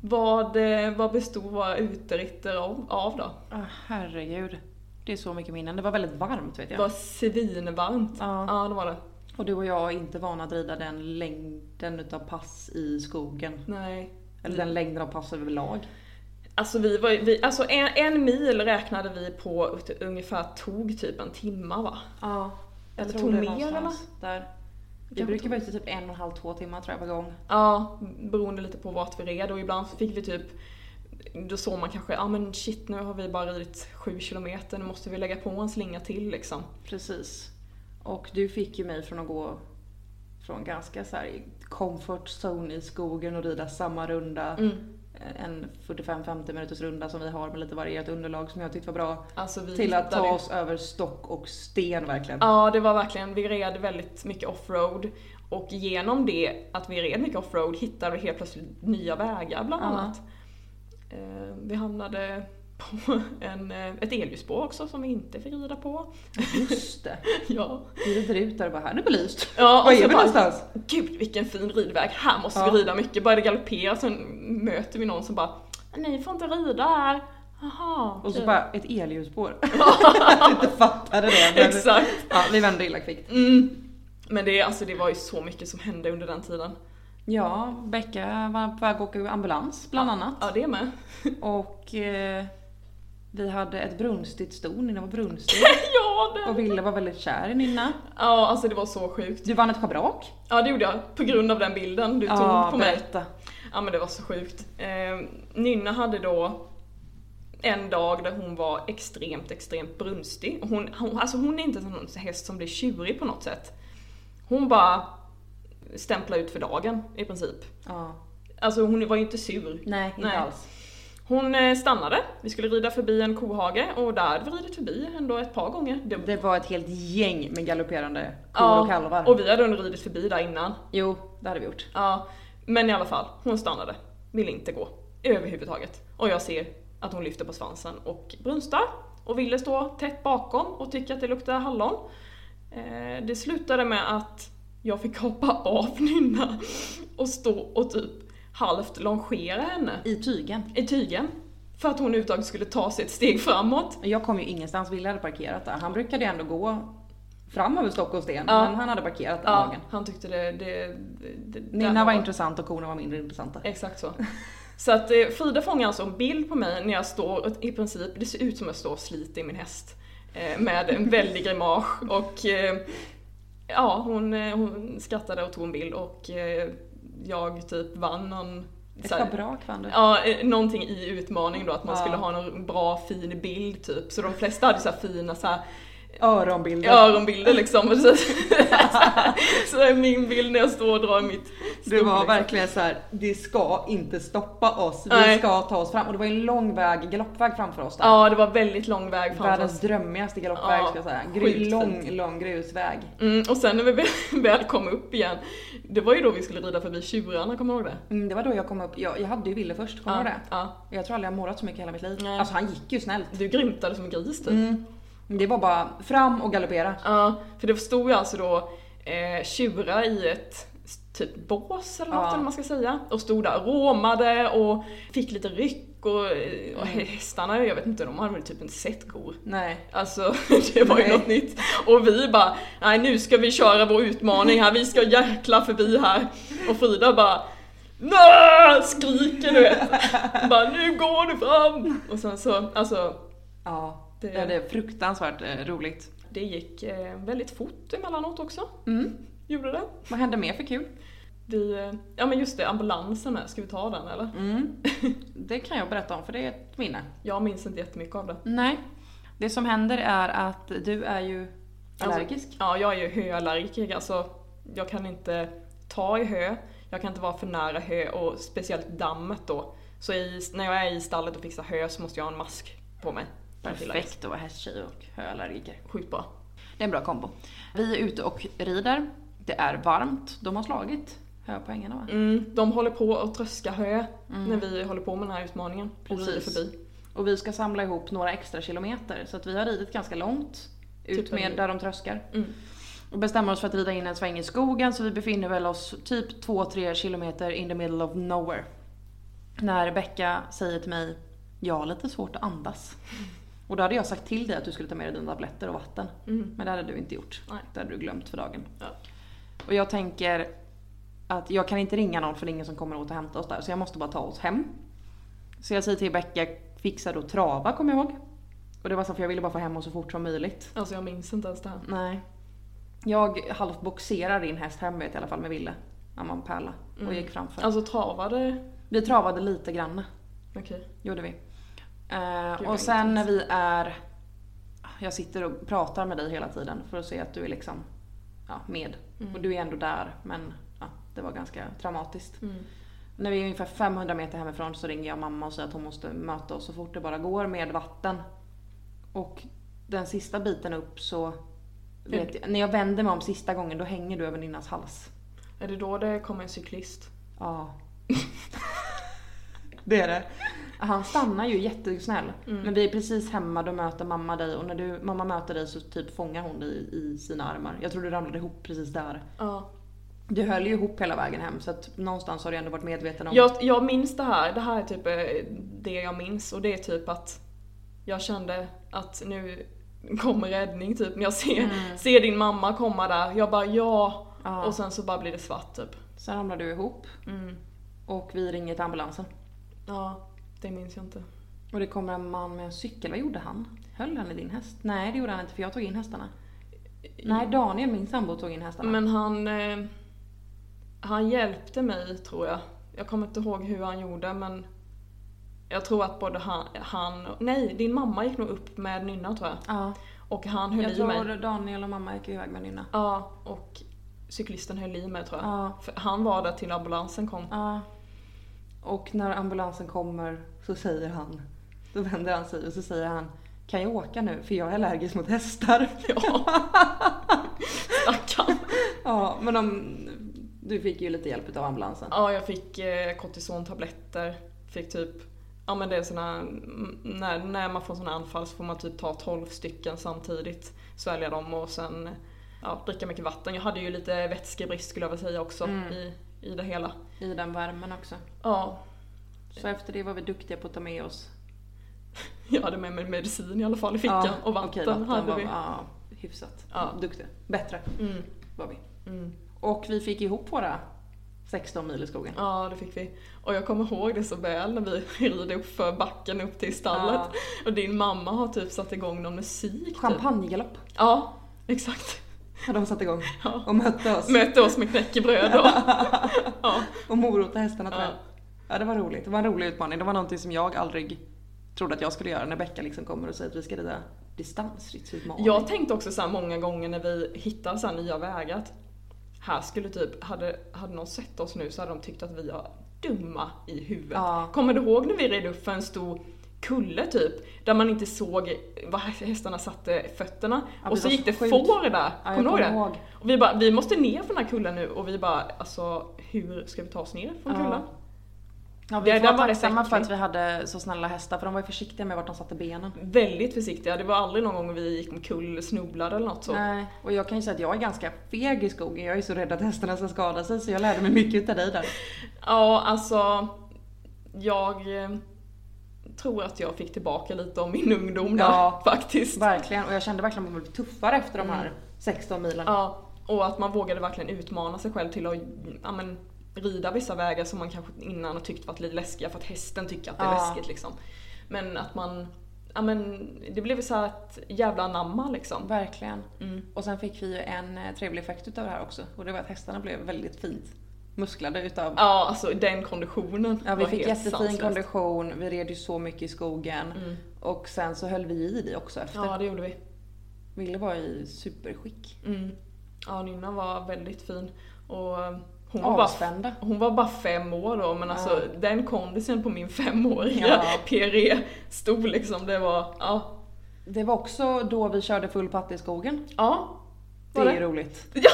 Speaker 2: vad, eh, vad bestod våra uteritter av, av då?
Speaker 3: Ah, herregud. Det är så mycket minnen. Det var väldigt varmt vet
Speaker 2: Det
Speaker 3: jag.
Speaker 2: var svinvarmt.
Speaker 3: Ja.
Speaker 2: Ja, det var det.
Speaker 3: Och du och jag är inte vana att rida den längden utav pass i skogen.
Speaker 2: Nej.
Speaker 3: Eller den längden av pass överlag.
Speaker 2: Alltså, vi var, vi, alltså en, en mil räknade vi på ut- ungefär tog typ en timma va?
Speaker 3: Ja.
Speaker 2: Eller tog mer,
Speaker 3: Där. Vi
Speaker 2: Kanske
Speaker 3: brukar
Speaker 2: tog-
Speaker 3: vara ute typ en och en halv, två timmar tror jag på gång.
Speaker 2: Ja, beroende lite på vart vi red och ibland så fick vi typ då såg man kanske, ja ah, men shit nu har vi bara ridit 7 kilometer, nu måste vi lägga på en slinga till liksom.
Speaker 3: Precis. Och du fick ju mig från att gå från ganska så här comfort zone i skogen och rida samma runda.
Speaker 2: Mm.
Speaker 3: En 45-50 minuters runda som vi har med lite varierat underlag som jag tyckte var bra.
Speaker 2: Alltså, vi
Speaker 3: Till att
Speaker 2: hittade-
Speaker 3: ta oss över stock och sten verkligen.
Speaker 2: Ja, det var verkligen, vi red väldigt mycket offroad. Och genom det, att vi red mycket offroad, hittade vi helt plötsligt nya vägar bland
Speaker 3: Ja.
Speaker 2: annat. Eh, Vi hamnade på (laughs) en, eh, ett elljusspår också som vi inte fick
Speaker 3: (laughs)
Speaker 2: rida på.
Speaker 3: Just det.
Speaker 2: ja.
Speaker 3: Vi rider ut där och bara, här är det belyst.
Speaker 2: Ja,
Speaker 3: Var
Speaker 2: och så
Speaker 3: är vi
Speaker 2: bara-
Speaker 3: någonstans?
Speaker 2: Gud vilken fin ridväg, här måste
Speaker 3: Ja.
Speaker 2: vi rida mycket. Började galoppera, sen möter vi någon som bara Ni får inte rida här. Jaha. Typ.
Speaker 3: Och så
Speaker 2: okej."
Speaker 3: bara ett elljusspår. jag inte fattade det. Men
Speaker 2: (laughs) Exakt.
Speaker 3: Ja, vi vände illa kvickt.
Speaker 2: Mm. Men det, alltså, det var ju så mycket som hände under den tiden.
Speaker 3: Ja, Becka var på väg att åka ur ambulans bland annat.
Speaker 2: Ja, det med.
Speaker 3: Och eh, vi hade ett brunstigt ston, Nina var brunstig.
Speaker 2: (laughs) ja, det.
Speaker 3: Och Ville var väldigt kär i Nina.
Speaker 2: Ja, alltså det var så sjukt.
Speaker 3: Du vann ett schabrak.
Speaker 2: Ja, det gjorde jag. På grund av den bilden du tog på mig.
Speaker 3: berätta.
Speaker 2: Ja, men det var så sjukt. Eh, Nynna hade Ehm, då en dag där hon var extremt, extremt brunstig. Och Hon, hon, alltså hon är inte en sån häst som blir tjurig på något sätt. Hon bara stämplar ut för dagen i princip.
Speaker 3: Ja.
Speaker 2: Alltså hon var ju inte sur.
Speaker 3: Nej, inte
Speaker 2: Nej.
Speaker 3: alls.
Speaker 2: Hon eh, stannade, vi skulle rida förbi en kohage och där hade vi ridit förbi ändå ett par gånger. Det-
Speaker 3: Det var ett helt gäng med galopperande kor och kalvar.
Speaker 2: och vi hade ändå ridit förbi där innan.
Speaker 3: Jo, det hade vi gjort.
Speaker 2: Ja, men i alla fall, hon stannade. Ville inte gå. Överhuvudtaget. Och jag ser att hon lyfter på svansen och brunstar. Och ville stå tätt bakom och tycka att det luktar hallon. Eh, det slutade med att jag fick hoppa av (laughs) Nynna och stå och typ halvt longera henne
Speaker 3: I tygen.
Speaker 2: i tygen. För att hon överhuvudtaget skulle ta sig ett steg framåt.
Speaker 3: Jag kom ju ingenstans, Wille hade parkerat där. Han brukade ju ändå gå fram över stock och sten,
Speaker 2: Ja.
Speaker 3: men han hade parkerat den
Speaker 2: Ja,
Speaker 3: dagen.
Speaker 2: han tyckte det... det, det
Speaker 3: Nina
Speaker 2: där
Speaker 3: var intressant och korna var mindre intressanta.
Speaker 2: Exakt så. Så att eh, Frida fångar alltså en bild på mig när jag står och i princip, det ser ut som jag står och sliter i min häst. Eh, med en väldig grimas och eh, ja, hon, eh, hon skrattade och tog en bild och eh, jag typ vann någon
Speaker 3: Ett
Speaker 2: så här-
Speaker 3: schabrak vann du.
Speaker 2: Ja, eh, någonting i utmaning då att man
Speaker 3: Ja.
Speaker 2: skulle ha någon bra fin bild typ. Så de flesta hade så här fina så här,
Speaker 3: Öronbilder.
Speaker 2: öronbilder liksom. Och Så, (laughs) så är min bild när jag står och drar i mitt
Speaker 3: Det
Speaker 2: stor,
Speaker 3: var
Speaker 2: liksom.
Speaker 3: verkligen så här: det ska inte stoppa oss, vi
Speaker 2: Nej.
Speaker 3: ska ta oss fram. Och det var ju en lång väg, galoppväg framför oss där.
Speaker 2: Ja, det var väldigt lång väg framför oss.
Speaker 3: Världens drömmigaste galoppväg
Speaker 2: Ja,
Speaker 3: ska jag säga.
Speaker 2: sjukt
Speaker 3: Gry, lång,
Speaker 2: fint.
Speaker 3: lång grusväg.
Speaker 2: Mm, och sen när vi väl- (laughs) väl kom upp igen, det var ju då vi skulle rida förbi tjurarna, kommer du ihåg det?
Speaker 3: Mm, det var då jag kom upp, jag, jag hade ju Ville först, kommer du ihåg
Speaker 2: ja, ja.
Speaker 3: det? Jag tror aldrig jag morrat så mycket i hela mitt liv.
Speaker 2: Nej.
Speaker 3: Alltså han gick ju snällt.
Speaker 2: Du grymtade som en gris typ.
Speaker 3: Mm. Det var bara fram och galoppera.
Speaker 2: Ja, för det stod ju alltså då eh, tjurar i ett s- typ bås eller något
Speaker 3: Ja.
Speaker 2: eller vad man ska säga. Och stod där och råmade och fick lite ryck och, eh, och
Speaker 3: Mm.
Speaker 2: hästarna, jag vet inte, de hade väl typ inte sett kor.
Speaker 3: Nej.
Speaker 2: Alltså (laughs) det var ju
Speaker 3: Nej.
Speaker 2: något nytt. Och vi bara, nej nu ska vi köra vår utmaning här, vi ska jäkla förbi här. Och Frida bara, Nä! skriker du vet. bara nu går du fram! Och sen så, alltså
Speaker 3: Ja,
Speaker 2: Det-
Speaker 3: det, det är fruktansvärt eh, roligt.
Speaker 2: det gick eh, väldigt fort emellanåt också.
Speaker 3: Mm.
Speaker 2: Gjorde det.
Speaker 3: Vad hände mer för kul?
Speaker 2: Vi, eh, ja men just det, ambulansen med, ska vi ta den eller?
Speaker 3: Mm. (laughs) Det kan jag berätta om för det är ett minne.
Speaker 2: Jag minns inte jättemycket av det.
Speaker 3: Nej. Det som händer är att du är ju
Speaker 2: Alltså-
Speaker 3: allergisk.
Speaker 2: Ja, jag är ju höallergiker, alltså jag kan inte ta i hö, jag kan inte vara för nära hö och speciellt dammet då. Så i, när jag är i stallet och fixar hö så måste jag ha en mask på mig.
Speaker 3: Perfekt att vara hästtjej och höallergiker.
Speaker 2: Sjukt bra.
Speaker 3: Det är en bra kombo. Vi är ute och rider. Det är varmt. De har slagit höpoängarna va?
Speaker 2: Mm, de håller på att tröska hö
Speaker 3: Mm.
Speaker 2: när vi håller på med den här utmaningen. Och rider
Speaker 3: Precis.
Speaker 2: förbi.
Speaker 3: Och vi ska samla ihop några extra kilometer. Så att vi har ridit ganska långt. Ut
Speaker 2: Typ en
Speaker 3: med
Speaker 2: mil.
Speaker 3: där de tröskar.
Speaker 2: Mm.
Speaker 3: Och bestämmer oss för att rida in en sväng i skogen så vi befinner väl oss typ 2-3 kilometer in the middle of nowhere. När Becka säger till mig, jag har lite svårt att andas. Och då hade jag sagt till dig att du skulle ta med dig dina tabletter och vatten.
Speaker 2: Mm.
Speaker 3: Men det hade du inte gjort.
Speaker 2: Nej.
Speaker 3: Det hade du glömt för dagen.
Speaker 2: Ja.
Speaker 3: Och jag tänker att jag kan inte ringa någon för det är ingen som kommer åt och hämta oss där. Så jag måste bara ta oss hem. Så jag säger till Becka, fixa då trava kommer jag ihåg. Och det var så för jag ville bara få hem oss så fort som möjligt.
Speaker 2: Alltså jag minns inte ens det här.
Speaker 3: Nej. Jag halvt boxerar din häst hem vet jag i alla fall med Ville. Amman Pärla.
Speaker 2: Mm.
Speaker 3: Och gick framför.
Speaker 2: Alltså travade...
Speaker 3: Vi travade lite granna.
Speaker 2: Okej.
Speaker 3: Gjorde vi. Eh,
Speaker 2: Gud, vad
Speaker 3: och sen när
Speaker 2: intensivt.
Speaker 3: vi är... Jag sitter och pratar med dig hela tiden för att se att du är liksom ja, med.
Speaker 2: Mm.
Speaker 3: Och du är ändå där men ja, det var ganska traumatiskt.
Speaker 2: Mm.
Speaker 3: När vi är ungefär 500 meter hemifrån så ringer jag mamma och säger att hon måste möta oss så fort det bara går med vatten. Och den sista biten upp så... Vet jag, när jag vänder mig om sista gången då hänger du över Ninnas hals.
Speaker 2: Är det då det kommer en cyklist?
Speaker 3: Ja. det är det. Han stannar ju jättesnäll.
Speaker 2: Mm.
Speaker 3: Men vi är precis hemma, då möter mamma dig och när du, mamma möter dig så typ fångar hon dig i sina armar. Jag tror du ramlade ihop precis där.
Speaker 2: Ja.
Speaker 3: Du höll ju ihop hela vägen hem så att någonstans har du ändå varit medveten om...
Speaker 2: Jag, jag minns det här, det här är typ eh, det jag minns och det är typ att jag kände att nu kommer räddning typ när jag ser, ser din mamma komma där. Jag bara ja,
Speaker 3: Mm. Ja. Mm.
Speaker 2: och sen så bara blir det svart typ.
Speaker 3: Sen ramlar du ihop och vi ringer till ambulansen.
Speaker 2: Ja, det minns jag inte.
Speaker 3: Och det kommer en man med en cykel. Vad gjorde han? Höll han i din häst? Mm. Nej det gjorde han inte för jag tog in hästarna. Nej Daniel, min sambo, tog in hästarna.
Speaker 2: Men han, eh, han hjälpte mig tror jag. Jag kommer inte ihåg hur han gjorde men Jag tror att både han, han nej din mamma gick nog upp med nynna tror jag.
Speaker 3: Ja.
Speaker 2: Och han höll
Speaker 3: Jag
Speaker 2: i mig.
Speaker 3: tror Daniel och mamma gick iväg med nynna.
Speaker 2: Ja, och cyklisten höll i mig tror jag.
Speaker 3: Ja.
Speaker 2: För han var där till ambulansen kom. (laughs)
Speaker 3: Ja. Och när ambulansen kommer så säger han, då vänder han sig och så säger han Kan jag åka nu? För jag är allergisk mot (laughs) hästar.
Speaker 2: Ja. Stackarn.
Speaker 3: ja, men de, du fick ju lite hjälp av ambulansen.
Speaker 2: Ja, jag fick eh, kortisontabletter. Fick typ, ja men det är såna, mm, när, när man får såna anfall så får man typ ta 12 stycken samtidigt. Svälja dem och sen ja, dricka mycket vatten. Jag hade ju lite vätskebrist skulle jag väl säga också
Speaker 3: Mm.
Speaker 2: i, i det hela.
Speaker 3: I den värmen också.
Speaker 2: Ja,
Speaker 3: Så efter det var vi duktiga på att ta med oss
Speaker 2: jag hade med mig medicin i alla fall i fickan och vatten,
Speaker 3: okej,
Speaker 2: hade
Speaker 3: var,
Speaker 2: vi.
Speaker 3: Ja, hyfsat.
Speaker 2: Ja.
Speaker 3: Duktiga. Bättre
Speaker 2: Mm,
Speaker 3: var vi.
Speaker 2: mm.
Speaker 3: Och vi fick ihop våra 16 mil i skogen.
Speaker 2: Ja, det fick vi. Och jag kommer ihåg det så väl när vi (laughs) rider upp för backen upp till stallet.
Speaker 3: Ja.
Speaker 2: Och din mamma har typ satt igång någon musik. Typ.
Speaker 3: Champagnegalopp
Speaker 2: Ja, exakt.
Speaker 3: hade de satt igång
Speaker 2: Ja.
Speaker 3: och mötte oss.
Speaker 2: Mötte oss med
Speaker 3: (laughs)
Speaker 2: knäckebröd och... ja.
Speaker 3: Och morot och hästarna tror jag.
Speaker 2: Ja.
Speaker 3: Ja, det var roligt. Det var en rolig utmaning. Det var någonting som jag aldrig trodde att jag skulle göra när Becka liksom kommer och säger att vi ska rida distansrytmutmaning.
Speaker 2: Jag tänkte också så här många gånger när vi hittar så här nya vägar att här skulle typ, hade, hade någon sett oss nu så hade de tyckt att vi var dumma i huvudet.
Speaker 3: Ja.
Speaker 2: Kommer du ihåg när vi red upp för en stor kulle typ, där man inte såg var hästarna satte fötterna?
Speaker 3: Ja,
Speaker 2: och
Speaker 3: det
Speaker 2: så
Speaker 3: var
Speaker 2: gick
Speaker 3: så
Speaker 2: det
Speaker 3: sjukt.
Speaker 2: får där,
Speaker 3: Ja, jag
Speaker 2: kommer du ihåg
Speaker 3: kommer
Speaker 2: det?
Speaker 3: ihåg.
Speaker 2: Och vi bara, vi måste ner från den här kullen nu och vi bara, alltså hur ska vi ta oss ner från
Speaker 3: Ja.
Speaker 2: kullen?
Speaker 3: Ja, vi
Speaker 2: Det-
Speaker 3: får
Speaker 2: den
Speaker 3: vara
Speaker 2: var rätt
Speaker 3: tacksamma för
Speaker 2: äcklig.
Speaker 3: att vi hade så snälla hästar för de var ju försiktiga med vart de satte benen.
Speaker 2: Väldigt försiktiga, det var aldrig någon gång vi gick omkull, snubblade eller något så.
Speaker 3: Nej, och jag kan ju säga att jag är ganska feg i skogen. Jag är så rädd att hästarna ska skada sig så jag lärde mig mycket utav dig där.
Speaker 2: Ja, alltså. Jag eh, tror att jag fick tillbaka lite av min ungdom där
Speaker 3: Ja.
Speaker 2: faktiskt.
Speaker 3: Verkligen, och jag kände verkligen att man blev tuffare efter de här 16 milen.
Speaker 2: Mm. Ja, och att man vågade verkligen utmana sig själv till att ja, men, rida vissa vägar som man kanske innan har tyckt varit lite läskiga för att hästen tycker att det är
Speaker 3: Ja.
Speaker 2: läskigt liksom. Men att man, ja men det blev så här ett jävla anamma liksom.
Speaker 3: Verkligen.
Speaker 2: Mm.
Speaker 3: Och sen fick vi ju en eh, trevlig effekt utav det här också och det var att hästarna blev väldigt fint musklade utav
Speaker 2: Ja, alltså den konditionen
Speaker 3: Ja, vi
Speaker 2: var
Speaker 3: fick
Speaker 2: helt
Speaker 3: jättefin
Speaker 2: sanslös.
Speaker 3: kondition, Typ. vi red ju så mycket i skogen.
Speaker 2: Mm.
Speaker 3: Och sen så höll vi i det också efter.
Speaker 2: Ja, det gjorde vi.
Speaker 3: Ville var i superskick.
Speaker 2: Mm. Ja, Nynna var väldigt fin. Och eh, hon var bara
Speaker 3: Avspända.
Speaker 2: Hon var bara fem år då men alltså
Speaker 3: Ja.
Speaker 2: den kondisen på min femåriga
Speaker 3: Ja.
Speaker 2: (laughs) PRE stod liksom, det var, ja.
Speaker 3: Det var också då vi körde full patte i skogen.
Speaker 2: Ja.
Speaker 3: Det
Speaker 2: Var
Speaker 3: är ju
Speaker 2: det?
Speaker 3: roligt.
Speaker 2: (laughs) ja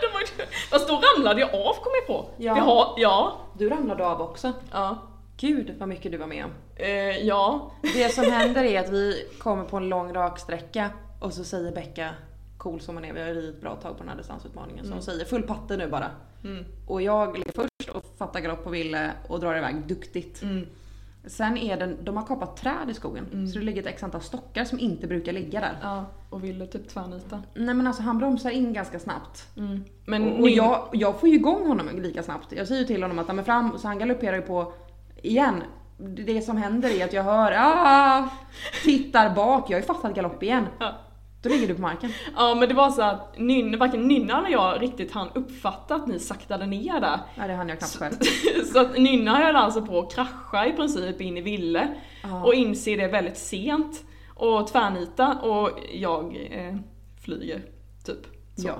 Speaker 2: det var, ju- fast då ramlade jag av kom jag på.
Speaker 3: Ja.
Speaker 2: Vi har, ja.
Speaker 3: Du ramlade av också.
Speaker 2: Ja.
Speaker 3: Gud vad mycket du var med om.
Speaker 2: Eh, ja.
Speaker 3: Det som händer är att vi kommer på en lång raksträcka och så säger Becka, cool som hon är, vi har ridit bra tag på den här distansutmaningen, så hon säger full patte nu bara.
Speaker 2: Mm.
Speaker 3: Och jag ligger först och fattar galopp på Ville och drar iväg duktigt.
Speaker 2: Mm.
Speaker 3: Sen är den, de har kapat träd i skogen så det ligger ett x antal stockar som inte brukar ligga där.
Speaker 2: ja. Och ville typ tvärnita.
Speaker 3: Nej men alltså han bromsar in ganska snabbt.
Speaker 2: Mm. Men
Speaker 3: Och, och jag, jag får ju igång honom lika snabbt. Jag säger ju till honom att han är fram, så han galopperar ju på igen. Det som händer är att jag hör ah, tittar bak, jag har ju fattat galopp igen.
Speaker 2: Ja.
Speaker 3: Då ligger du på marken.
Speaker 2: Ja men det var så att nyn, varken Nynna eller jag riktigt hann uppfatta att ni saktade ner där. (laughs)
Speaker 3: Nej det hann jag knappt själv.
Speaker 2: så att Nynna höll alltså på att krascha i princip in i Ville
Speaker 3: Ja.
Speaker 2: och inser det väldigt sent och tvärnita och jag eh, flyger, typ. Så.
Speaker 3: Ja.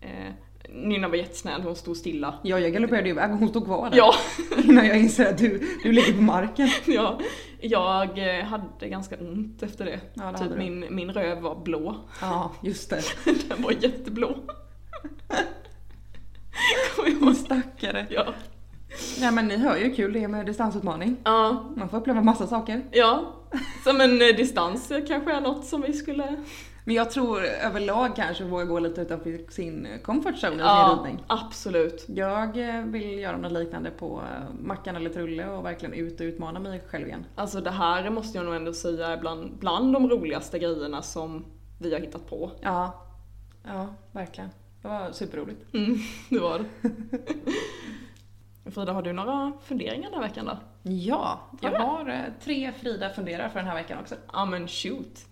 Speaker 2: Eh, Nynna var jättesnäll, hon stod stilla.
Speaker 3: Ja, jag galopperade ju iväg och hon stod kvar där.
Speaker 2: Ja, (laughs)
Speaker 3: Innan jag inser att du, du ligger på marken.
Speaker 2: ja, jag eh, hade ganska ont efter det.
Speaker 3: Ja, det hade
Speaker 2: typ
Speaker 3: du.
Speaker 2: min, min röv var blå. (laughs)
Speaker 3: Ja, just det.
Speaker 2: Den var
Speaker 3: (laughs)
Speaker 2: jätteblå. Kommer jag ihåg.
Speaker 3: Stackare.
Speaker 2: Ja.
Speaker 3: Nej men ni hör ju hur kul det är med distansutmaning.
Speaker 2: Ja,
Speaker 3: Man får uppleva massa saker.
Speaker 2: ja. Som en eh, distans eh, kanske är något som vi skulle
Speaker 3: Men jag tror överlag kanske våga gå lite utanför sin comfort zone i sin ridning.
Speaker 2: absolut.
Speaker 3: Jag eh, vill göra något liknande på eh, Mackan eller Trulle och verkligen ut och utmana mig själv igen.
Speaker 2: Alltså det här måste jag nog ändå säga är bland, bland de roligaste grejerna som vi har hittat på.
Speaker 3: Ja, ja verkligen. Det var superroligt.
Speaker 2: Mm, det (laughs) var det. Frida, har du några funderingar den här veckan då?
Speaker 3: Ja, jag
Speaker 2: Ja.
Speaker 3: har eh, tre Frida funderar för den här veckan också.
Speaker 2: Ja men shoot. (laughs)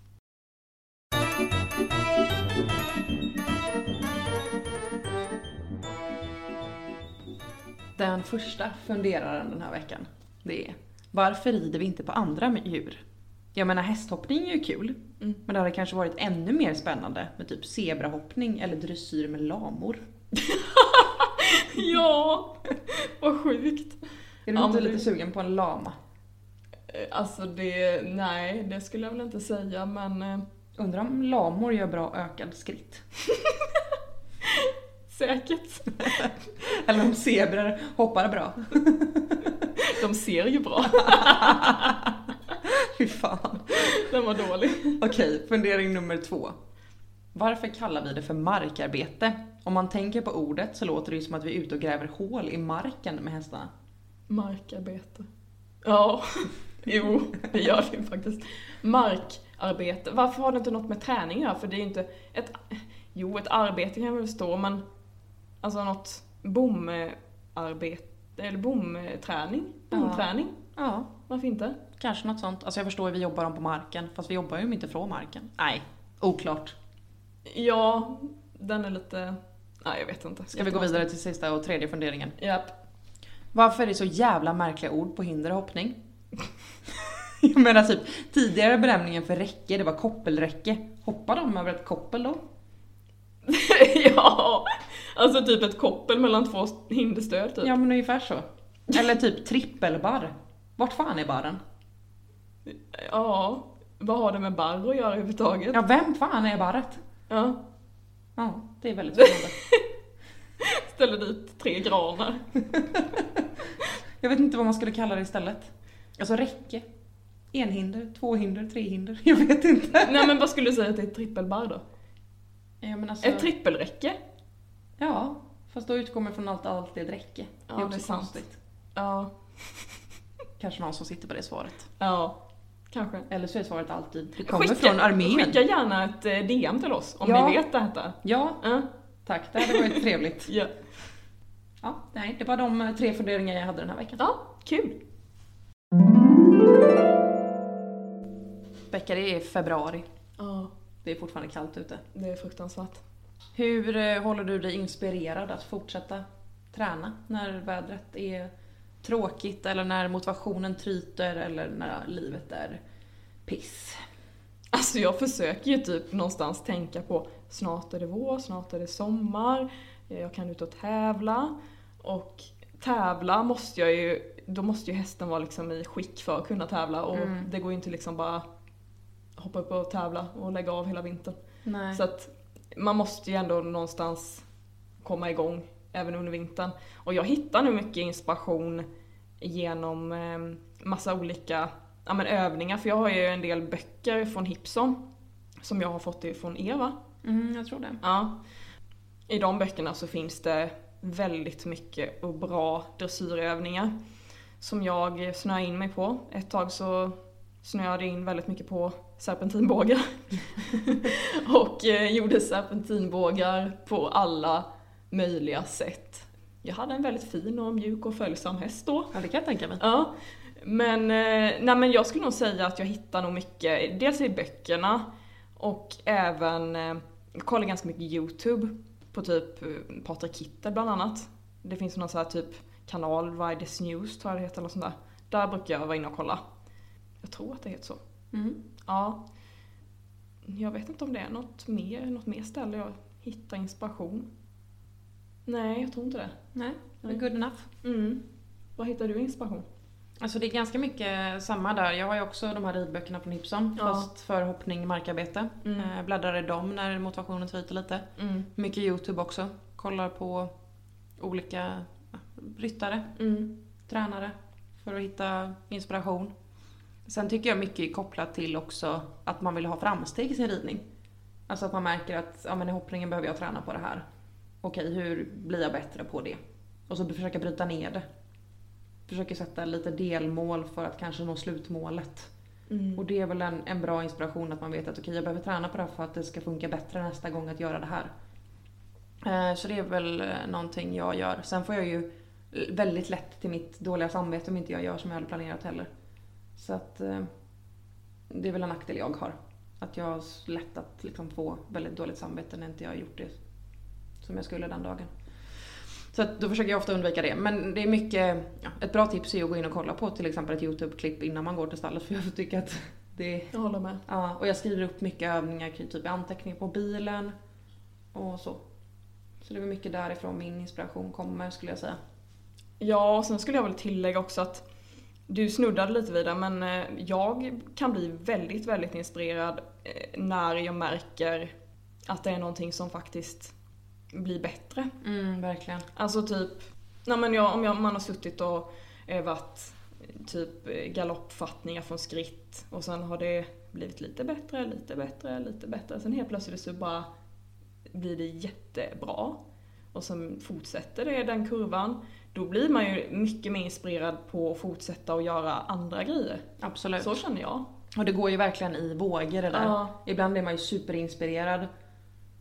Speaker 3: Den första funderaren den här veckan, det är Varför rider vi inte på andra med- djur? Jag menar hästhoppning är ju kul.
Speaker 2: Mm.
Speaker 3: Men det hade kanske varit ännu mer spännande med typ zebrahoppning eller dressyr med lamor.
Speaker 2: Ja! Vad sjukt.
Speaker 3: Är du
Speaker 2: Ja,
Speaker 3: inte
Speaker 2: men det-
Speaker 3: lite sugen på en lama?
Speaker 2: Eh, Alltså det, nej det skulle jag väl inte säga men eh,
Speaker 3: Undrar om lamor gör bra ökad skritt?
Speaker 2: säkert.
Speaker 3: Eller om zebror hoppar bra?
Speaker 2: De ser ju bra.
Speaker 3: (laughs)
Speaker 2: (laughs)
Speaker 3: Fy fan.
Speaker 2: Den var dålig.
Speaker 3: Okej, fundering nummer två. Varför kallar vi det för markarbete? Om man tänker på ordet så låter det ju som att vi är ute och gräver hål i marken med hästarna.
Speaker 2: Markarbete. Ja, (laughs) jo det gör det ju faktiskt. Markarbete. Varför har det inte något med träning att göra? För det är ju inte ett... Jo, ett arbete kan jag väl förstå men alltså något bomarbete eller bomträning.
Speaker 3: Ja.
Speaker 2: Bomträning.
Speaker 3: Ja,
Speaker 2: Varför inte?
Speaker 3: kanske något sånt. Alltså jag förstår ju, vi jobbar dem på marken, fast vi jobbar ju inte från marken. Nej, oklart.
Speaker 2: Ja, den är lite... Nej, jag vet inte.
Speaker 3: Ska vi gå vidare till sista och tredje funderingen?
Speaker 2: Japp. (laughs)
Speaker 3: Varför är det så jävla märkliga ord på hinder och hoppning? (laughs) Jag menar typ, tidigare benämningen för räcke, det var koppelräcke. Hoppar de över ett koppel då? typ?
Speaker 2: ja, alltså typ ett koppel mellan två hinderstöd typ.
Speaker 3: Ja men ungefär så. Eller typ trippelbarr. Vart fan är barren?
Speaker 2: Ja, vad har det med barr att göra överhuvudtaget?
Speaker 3: Ja, vem fan är barret?
Speaker 2: Ja,
Speaker 3: Ja, det är väldigt spännande.
Speaker 2: ställer dit tre granar.
Speaker 3: Jag vet inte vad man skulle kalla det istället. Alltså räcke. Enhinder, tvåhinder, trehinder. Jag vet inte.
Speaker 2: Nej men vad skulle du säga att det är ett trippelbarr då?
Speaker 3: Ja, men alltså,
Speaker 2: Ett trippelräcke?
Speaker 3: ja, fast då utgår man från allt, allt det är ett räcke.
Speaker 2: Ja,
Speaker 3: också
Speaker 2: det är sant. Ja,
Speaker 3: Kanske någon som sitter på det svaret.
Speaker 2: ja, kanske.
Speaker 3: Eller så är svaret alltid, det kommer
Speaker 2: Skicka-
Speaker 3: från armén.
Speaker 2: Skicka gärna ett eh, DM till oss om
Speaker 3: Ja.
Speaker 2: ni vet detta.
Speaker 3: Ja,
Speaker 2: Ja,
Speaker 3: tack. Det hade varit trevligt. (laughs)
Speaker 2: ja.
Speaker 3: Ja, nej, det var de eh, tre funderingar jag hade den här veckan.
Speaker 2: ja kul.
Speaker 3: Becka, det är februari.
Speaker 2: Ja,
Speaker 3: Det är fortfarande kallt ute.
Speaker 2: det är fruktansvärt.
Speaker 3: Hur eh, håller du dig inspirerad att fortsätta träna när vädret är tråkigt eller när motivationen tryter eller när livet är piss?
Speaker 2: Alltså jag försöker ju typ någonstans tänka på snart är det vår, snart är det sommar, eh, jag kan ut och tävla. Och tävla måste jag ju, då måste ju hästen vara liksom i skick för att kunna tävla och
Speaker 3: Mm.
Speaker 2: det går ju inte liksom bara hoppa upp och tävla och lägga av hela vintern.
Speaker 3: Nej.
Speaker 2: Så att man måste ju ändå någonstans komma igång även under vintern. Och jag hittar nu mycket inspiration genom eh, massa olika ja, men övningar. För jag har ju en del böcker från Hipson som jag har fått ifrån Eva.
Speaker 3: mm, jag tror det.
Speaker 2: Ja. I de böckerna så finns det väldigt mycket och bra dressyrövningar som jag snöar in mig på. Ett tag så snöade jag in väldigt mycket på serpentinbågar. (laughs) och eh, gjorde serpentinbågar på alla möjliga sätt. Jag hade en väldigt fin och mjuk och följsam häst då.
Speaker 3: Ja, det kan jag tänka mig.
Speaker 2: Ja. Men, eh, nej, men jag skulle nog säga att jag hittar nog mycket, dels i böckerna och även, eh, jag kollar ganska mycket YouTube på typ eh, Patrik Kittel bland annat. Det finns någon sån här typ kanal, Riders News tror jag det heter, eller sånt där. Där brukar jag vara inne och kolla. Jag tror att det heter så.
Speaker 3: Mm.
Speaker 2: Ja. Jag vet inte om det är något mer, något mer ställe jag hittar inspiration. Nej, jag tror inte det.
Speaker 3: Nej, det är good enough.
Speaker 2: Mm. Var hittar du inspiration?
Speaker 3: Alltså det är ganska mycket samma där. Jag har ju också de här ridböckerna från Hipson,
Speaker 2: Ja.
Speaker 3: fast för hoppning och markarbete.
Speaker 2: Mm.
Speaker 3: Eh, Bläddrar i dem när motivationen tryter lite.
Speaker 2: Mm.
Speaker 3: Mycket YouTube också. Kollar på olika ja, ryttare.
Speaker 2: Mm.
Speaker 3: tränare för att hitta inspiration. Sen tycker jag mycket är kopplat till också att man vill ha framsteg i sin ridning. Alltså att man märker att ja, men i hoppningen behöver jag träna på det här. Okej, hur blir jag bättre på det? Och så försöka bryta ner det. Försöker sätta lite delmål för att kanske nå slutmålet.
Speaker 2: Mm.
Speaker 3: Och det är väl en, en bra inspiration att man vet att okej, jag behöver träna på det här för att det ska funka bättre nästa gång att göra det här. Eh, Så det är väl eh, någonting jag gör. Sen får jag ju eh, väldigt lätt till mitt dåliga samvete om inte jag gör som jag hade planerat heller. Så att eh, det är väl en nackdel jag har. Att jag har s- lätt att liksom få väldigt dåligt samvete när inte jag har gjort det som jag skulle den dagen. Så att då försöker jag ofta undvika det. Men det är mycket, ja, ett bra tips är ju att gå in och kolla på till exempel ett YouTube-klipp innan man går till stallet för jag tycker att det
Speaker 2: Jag håller med.
Speaker 3: Ja, och jag skriver upp mycket övningar kring typ anteckningar på bilen och så. Så det är väl mycket därifrån min inspiration kommer skulle jag säga.
Speaker 2: Ja, och sen skulle jag väl tillägga också att du snuddade lite vid det, men eh, jag kan bli väldigt, väldigt inspirerad eh, när jag märker att det är någonting som faktiskt blir bättre.
Speaker 3: Mm, verkligen.
Speaker 2: Alltså typ, nej men jag, om jag, man har suttit och övat typ eh, galoppfattningar från skritt och sen har det blivit lite bättre, lite bättre, lite bättre. Sen helt plötsligt så bara blir det jättebra. Och sen fortsätter det, den kurvan. Då blir man ju mycket mer inspirerad på att fortsätta och göra andra grejer.
Speaker 3: Absolut.
Speaker 2: Så känner jag.
Speaker 3: Och det går ju verkligen i vågor det där.
Speaker 2: Ja.
Speaker 3: Ibland är man ju superinspirerad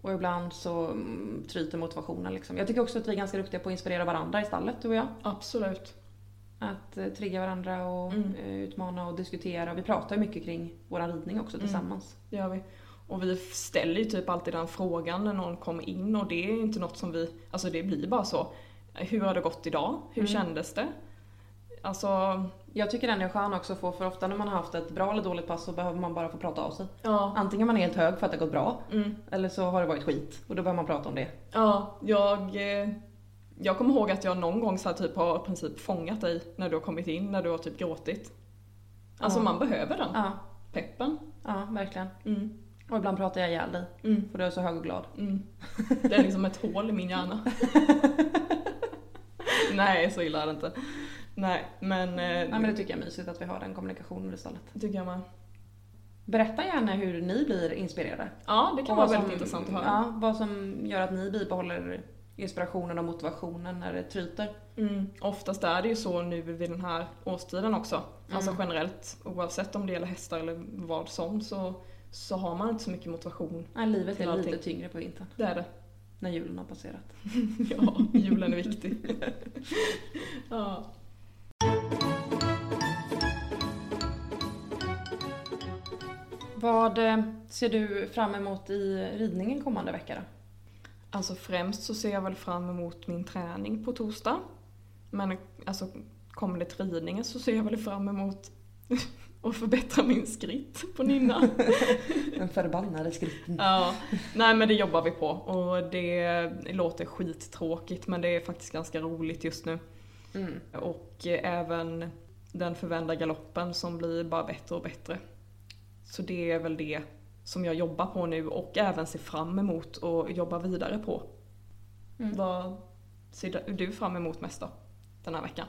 Speaker 3: och ibland så mm, tryter motivationen liksom. Jag tycker också att vi är ganska duktiga på att inspirera varandra i stallet, du och jag.
Speaker 2: Absolut.
Speaker 3: Att eh, trigga varandra och
Speaker 2: Mm.
Speaker 3: eh, utmana och diskutera. Vi pratar ju mycket kring vår ridning också
Speaker 2: Mm.
Speaker 3: tillsammans.
Speaker 2: Det gör vi. Och vi ställer ju typ alltid den frågan när någon kommer in och det är ju inte något som vi, alltså det blir bara så. Hur har det gått idag? Hur
Speaker 3: Mm.
Speaker 2: kändes det? Alltså,
Speaker 3: Jag tycker den är skön också att få för ofta när man har haft ett bra eller dåligt pass så behöver man bara få prata av sig.
Speaker 2: ja.
Speaker 3: Antingen man är helt hög för att det har gått bra
Speaker 2: Mm,
Speaker 3: eller så har det varit skit och då behöver man prata om det.
Speaker 2: ja, jag, eh, jag kommer ihåg att jag någon gång så här typ har i princip fångat dig när du har kommit in, när du har typ gråtit. Alltså
Speaker 3: Ja.
Speaker 2: man behöver den
Speaker 3: Ja,
Speaker 2: peppen.
Speaker 3: ja verkligen.
Speaker 2: Mm,
Speaker 3: Och ibland pratar jag ihjäl dig
Speaker 2: mm,
Speaker 3: för du är så hög och glad.
Speaker 2: mm. Det är liksom ett hål i
Speaker 3: (laughs)
Speaker 2: min hjärna. Nej, så illa är det inte. Nej, men... eh,
Speaker 3: Nej men det tycker jag är mysigt att vi har den kommunikationen istället.
Speaker 2: tycker jag med.
Speaker 3: Berätta gärna hur ni blir inspirerade.
Speaker 2: Ja, det kan
Speaker 3: Och
Speaker 2: vara
Speaker 3: vad
Speaker 2: väldigt
Speaker 3: som-
Speaker 2: intressant att höra.
Speaker 3: Ja, vad som gör att ni bibehåller inspirationen och motivationen när det tryter.
Speaker 2: Mm. Oftast är det ju så nu vid den här årstiden också. Alltså
Speaker 3: Mm.
Speaker 2: generellt, oavsett om det gäller hästar eller vad som, så, så har man inte så mycket motivation.
Speaker 3: Nej, livet
Speaker 2: Till
Speaker 3: är lite
Speaker 2: allting.
Speaker 3: tyngre på vintern
Speaker 2: Det är det. (laughs)
Speaker 3: när julen har passerat.
Speaker 2: Ja, julen är
Speaker 3: (laughs)
Speaker 2: viktig. ja.
Speaker 3: Vad eh, ser du fram emot i ridningen kommande vecka då?
Speaker 2: Alltså främst så ser jag väl fram emot min träning på torsdag. Men alltså kommer det till ridningen så ser jag väl fram emot (laughs) att förbättra min skritt på Nynna.
Speaker 3: Den förbannade skritten.
Speaker 2: Ja, nej men det jobbar vi på och det låter skittråkigt men det är faktiskt ganska roligt just nu.
Speaker 3: Mm.
Speaker 2: Och eh, även den förvända galoppen som blir bara bättre och bättre. Så det är väl det som jag jobbar på nu och även ser fram emot och jobbar vidare på.
Speaker 3: Mm.
Speaker 2: Vad ser du fram emot mest då? Den här veckan?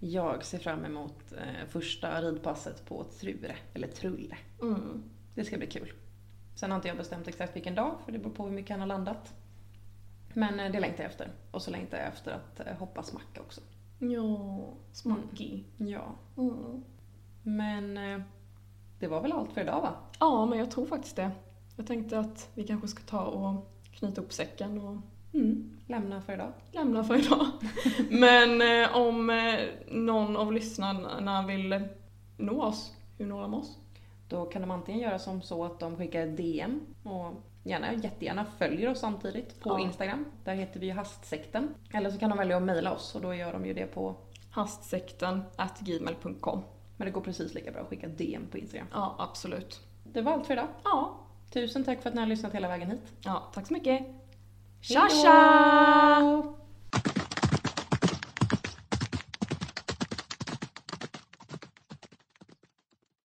Speaker 3: Jag ser fram emot eh, första ridpasset på Trure, eller Trulle.
Speaker 2: Mm.
Speaker 3: Det ska bli kul. Sen har inte jag bestämt exakt vilken dag, för det beror på hur mycket han har landat. Men eh, det längtar jag efter. Och så längtar jag efter att eh, hoppa smacka också.
Speaker 2: Ja, smackig.
Speaker 3: Ja.
Speaker 2: Mm.
Speaker 3: Men eh, det var väl allt för idag va?
Speaker 2: Ja, men jag tror faktiskt det. Jag tänkte att vi kanske ska ta och knyta upp säcken och mm,
Speaker 3: Lämna för idag.
Speaker 2: lämna för idag. (laughs) men eh, om eh, någon av lyssnarna vill nå oss, hur når de oss?
Speaker 3: Då kan de antingen göra som så att de skickar ett DM och gärna, jättegärna följer oss samtidigt på
Speaker 2: Ja.
Speaker 3: Instagram. Där heter vi ju Hastsekten. Eller så kan de välja att mejla oss och då gör de ju det på...
Speaker 2: Hastsekten at gmail.com.
Speaker 3: Men det går precis lika bra att skicka ett DM på Instagram.
Speaker 2: Ja, absolut.
Speaker 3: Det var allt för idag.
Speaker 2: Ja,
Speaker 3: Tusen tack för att ni har lyssnat hela vägen hit.
Speaker 2: ja tack så mycket.
Speaker 3: Hej
Speaker 2: Tja
Speaker 3: då!
Speaker 2: tja!